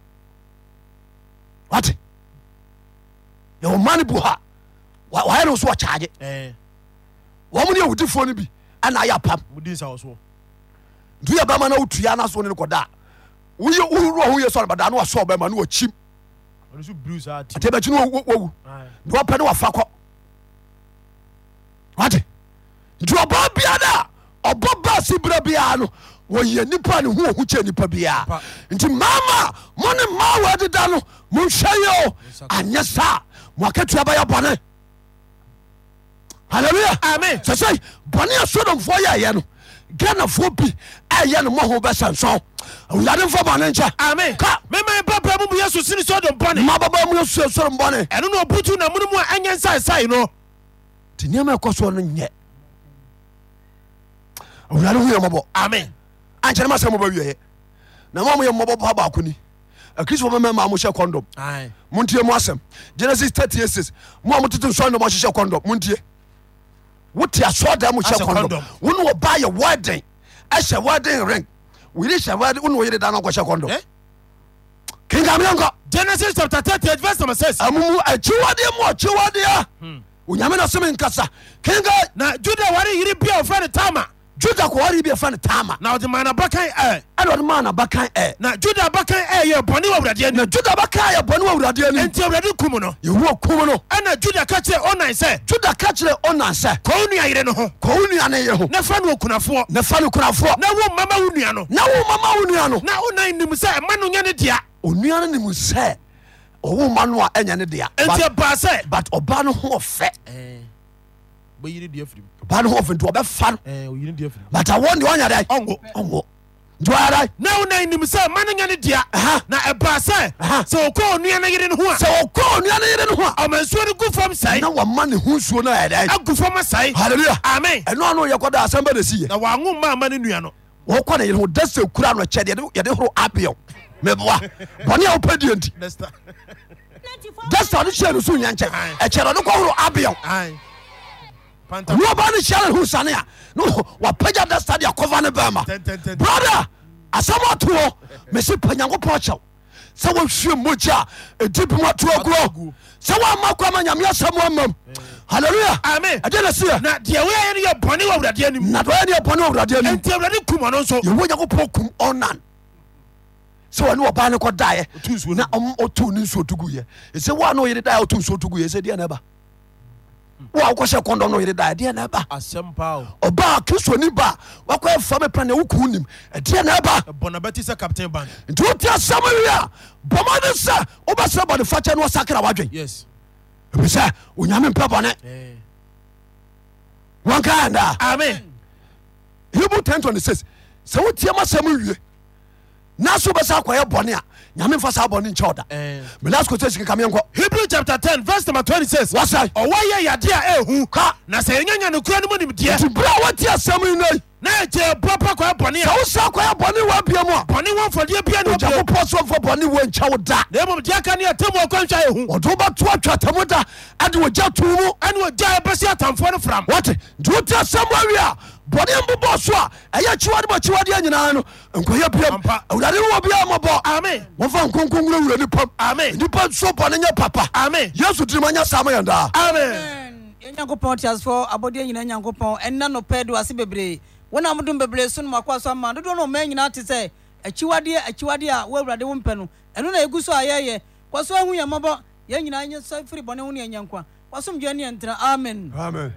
[SPEAKER 1] wate yɛwɔ ma no bi wɔ ha wa- wayɛ no so wɔkyaagye
[SPEAKER 2] Ɛɛ,
[SPEAKER 1] wɔmo ne awudifoɔ no bi ɛna ayɛ apam
[SPEAKER 2] mudi nsa wɔ soɔ
[SPEAKER 1] nti woyɛ bɛma na wotua na so ne no kɔda a woyɛ wowoɔ ho yɛ sɔre badaa na wasɔ bɛma na wakyim
[SPEAKER 2] ɔno so bru saa ti
[SPEAKER 1] nti bɛkyi no wawu na wɔpɛ ne wafa kɔ wate nti ɔbaa biara a ɔbɔ baase berɛ biara no wɔyɛ nipa a ne ho ɔho kyɛ nipa biara
[SPEAKER 2] Pa.
[SPEAKER 1] nti maama a mo ne mmaa wɔ adeda no monhwɛ yɛ o
[SPEAKER 2] Nsa ka.
[SPEAKER 1] anyɛ saa a, mo akatua bɛyɛ bɔne halleluya
[SPEAKER 2] Amen.
[SPEAKER 1] sɛ sɛ bɔne a sodomfoɔ yɛɛyɛ no ghanafoɔ bi ɛyɛ no mɔho bɛsɛnsɔn awurade mfa bɔne nkyɛ
[SPEAKER 2] amen
[SPEAKER 1] Ka.
[SPEAKER 2] mema mpapra mu mu yɛ so sene sodom bɔne
[SPEAKER 1] mababa mu yɛsuo sorom bɔne
[SPEAKER 2] ɛno na ɔbutu namono mu a ɛnyɛ nsaesae no
[SPEAKER 1] nti nneɛma a ɛkɔ soɔ no nyɛ awurade ho yɛ mmɔbɔ
[SPEAKER 2] amen
[SPEAKER 1] ankyɛne ma sɛ mɔbɔ wieɛ na ma moyɛ mmɔbɔ pa baako ni akristofoɔ mɛmɛma mohyɛ kɔndɔm
[SPEAKER 2] Aye.
[SPEAKER 1] montie mu asɛm genesis 36 mo a motete nsɔne dɔm ɔhyehyɛ kɔndɔm montie wote asɔɔdan mu hyɛ
[SPEAKER 2] Ahyɛ
[SPEAKER 1] kɔndɔm
[SPEAKER 2] condom.
[SPEAKER 1] wo ne wɔba yɛ wɔden ɛhyɛ wɔden ring woyere hyɛ wɔden wo ne wɔyere da no nkɔhyɛ kɔndɔm
[SPEAKER 2] Eh?
[SPEAKER 1] kenkameɛ nkɔ
[SPEAKER 2] genesis chapter thirty eight verse number six.
[SPEAKER 1] amumu akyiwadeɛ mu ɔkyiwadeɛ onyame no seme nkasa kenka
[SPEAKER 2] Hmm. na juda wari yiri bi a ofra ne tama
[SPEAKER 1] juda kɔware bi ɛfa no tama
[SPEAKER 2] Ah. na ɔde maa n'abakan ɛ
[SPEAKER 1] ɛne ɔde maa nabakan ɛ
[SPEAKER 2] na juda abakan ɛ yɛ bɔnni wɔ awurade
[SPEAKER 1] na
[SPEAKER 2] anim
[SPEAKER 1] juda bɛka yɛ bɔne wɔ awurade anim
[SPEAKER 2] nti awurade kum no
[SPEAKER 1] yɛwuo kum no
[SPEAKER 2] ɛna juda ka kyerɛ onan sɛ
[SPEAKER 1] juda ka kyerɛ onan sɛ
[SPEAKER 2] kɔ wo nua yere no ho
[SPEAKER 1] kɔ wo nua ne ye ho
[SPEAKER 2] na fa no okunafoɔ
[SPEAKER 1] na fa no kurafoɔ
[SPEAKER 2] na wo mmama wo nua no
[SPEAKER 1] na wo mama wo nua no
[SPEAKER 2] na onan nim sɛ ɛma no nyɛ ne dea
[SPEAKER 1] onua no nim sɛ ɔwo ma no a ɛnyɛ ne dea
[SPEAKER 2] enti
[SPEAKER 1] But-
[SPEAKER 2] ɛbaa sɛ
[SPEAKER 1] but ɔba no ho ɔfɛ
[SPEAKER 2] Eh, bɛyiri di afiri
[SPEAKER 1] ɔba no ho ɔfɛ nti ɔbɛfa no
[SPEAKER 2] Eh, oyiri di afiri
[SPEAKER 1] but awɔ ne ɔnya dɛn
[SPEAKER 2] Ɔnwo.
[SPEAKER 1] ɔnwo nti ɔyɛ dɛn
[SPEAKER 2] na onan nim sɛ ɛma no nyɛ ne dea na ɛbaa sɛ
[SPEAKER 1] Aha.
[SPEAKER 2] sɛ ɔkɔ onua no yere no ho a
[SPEAKER 1] sɛ ɔkɔ onua no yere no ho
[SPEAKER 2] ɔma nsuo no gu fam
[SPEAKER 1] a
[SPEAKER 2] sɛe
[SPEAKER 1] na wɔma ne ho nsuo no ɛyɛ dɛn
[SPEAKER 2] agu fam asae
[SPEAKER 1] halleluya
[SPEAKER 2] amen
[SPEAKER 1] ɛno ano yɛ kɔda asɛm bɛ na si yɛ
[SPEAKER 2] na wɔanwo mma ama no nua no
[SPEAKER 1] wɔkɔ ne yere ho da sɛ kura no kyɛ deɛ yɛde horo abeɛw meboa bɔne a wopɛ deɛ nti dasta no hyɛ no so nya nkyɛ
[SPEAKER 2] Aye.
[SPEAKER 1] ɛkyɛ no kɔhoro abeɛw ne ɔba no hyɛ no ne ho sane a ne wapagya dasta de akɔva ne bɛma brada asɛm ato hɔ mese pa nyankopɔn kyɛw sɛ wohwie mogya a ɛdi bim atoa kuro sɛ woama koama nyame asɛm ama m halleluya
[SPEAKER 2] Mm. amen
[SPEAKER 1] ɛgye na seɛ
[SPEAKER 2] na deɛ woyɛɛ no yɛ bɔne wɔ awurade anim
[SPEAKER 1] na dɔyɛ ne ɛbɔne awurade anim
[SPEAKER 2] enti awurade kum ɔno nso
[SPEAKER 1] yɛwɔ nyankopɔn kum ɔnan sɛ wɔne wɔba ne
[SPEAKER 2] Ɔtoo
[SPEAKER 1] kɔdaeɛ
[SPEAKER 2] nsuo
[SPEAKER 1] na ɔm- ɔtoo ne nsuo tuguyɛ ɛsɛ woa ne ɔyere daeɛ ɔto nsuo tuguyɛ ɛsɛ deɛ na ɛba woa wokɔhyɛ kɔndɔm na ɔyere daeɛ deɛ na ɛba
[SPEAKER 2] asɛm pao
[SPEAKER 1] ɔba a kristoni ba a wakɔyɛ fa me pra ne wokuo nim ɛdeɛ na ɛba
[SPEAKER 2] ɛbɔna bɛte sɛ captain ban
[SPEAKER 1] nti wote asɛm wie a bɔma ne sɛ wobɛsrɛ bɔne fakyɛ ne wɔsakra woadwen
[SPEAKER 2] yes
[SPEAKER 1] ɛfisɛ onyame mpɛ bɔne wanka ɛndaa
[SPEAKER 2] amen
[SPEAKER 1] hebrew 1026 sɛ wotiam asɛm wie na so wobɛsa akɔyɛ bɔne a nyame mfa saa bɔne nkyɛ wo da
[SPEAKER 2] Ɛn.
[SPEAKER 1] melas kotation kameɛnkɔ
[SPEAKER 2] hebrew chapter 10 verse number 26
[SPEAKER 1] wasae
[SPEAKER 2] ɔwɔ yɛ yade a ɛhu
[SPEAKER 1] ka
[SPEAKER 2] na sɛ yɛnyanya nokura no mu nimdeɛ
[SPEAKER 1] nti berɛ a wote asɛm yi nai
[SPEAKER 2] na ɛkyɛ boa pa kɔɛ bɔne
[SPEAKER 1] sɛ
[SPEAKER 2] a
[SPEAKER 1] wosa akɔyɛ bɔne wɔ abia mu a
[SPEAKER 2] bɔne wɔ mfɔdeɛ bia ne ɔbio
[SPEAKER 1] onyankopɔn sɛ ɔmfa bɔne wɔ nkyɛ wo da
[SPEAKER 2] na mmom deɛ ka ne yɛtamu ɔkwanhwɛ ɛhu
[SPEAKER 1] ɔde wobɛto atwa atamu da ade wɔgya to mu
[SPEAKER 2] ɛne ɔgya ɛbɛsi atamfoɔ no fram
[SPEAKER 1] wɔte nti wote asɛm awie a bɔne mbobɔ so a ɛyɛ akyiwade ma akyiwadeɛ nyinaa no nkɔyɛ biam
[SPEAKER 2] Ampa.
[SPEAKER 1] awurade no wɔ biaa mɔbɔ
[SPEAKER 2] amen
[SPEAKER 1] wɔmfa nkonkongro wura nipam
[SPEAKER 2] Amen.
[SPEAKER 1] nnipa nso bɔne nyɛ papa
[SPEAKER 2] amen
[SPEAKER 1] yesu dirima nyɛ saa ma yɛn daa
[SPEAKER 2] amen
[SPEAKER 3] nyankopɔn teasefoɔ abɔdeɛ nyina nyankopɔn ɛnna nopɛ de wase bebree wona modom bebree so nomakoa so ama dodoɔ no ɔma nyinaa te sɛ akyiwadeɛ akyiwadeɛ a wo awurade wo mpɛ no ɛno na ɛgu so a yɛyɛ kɔ so ahu yɛ mmɔbɔ yɛn nyinaa nyɛ sɛ firi bɔne ho ne yɛnyankwa wasomdwa ne yɛntena amen
[SPEAKER 1] amen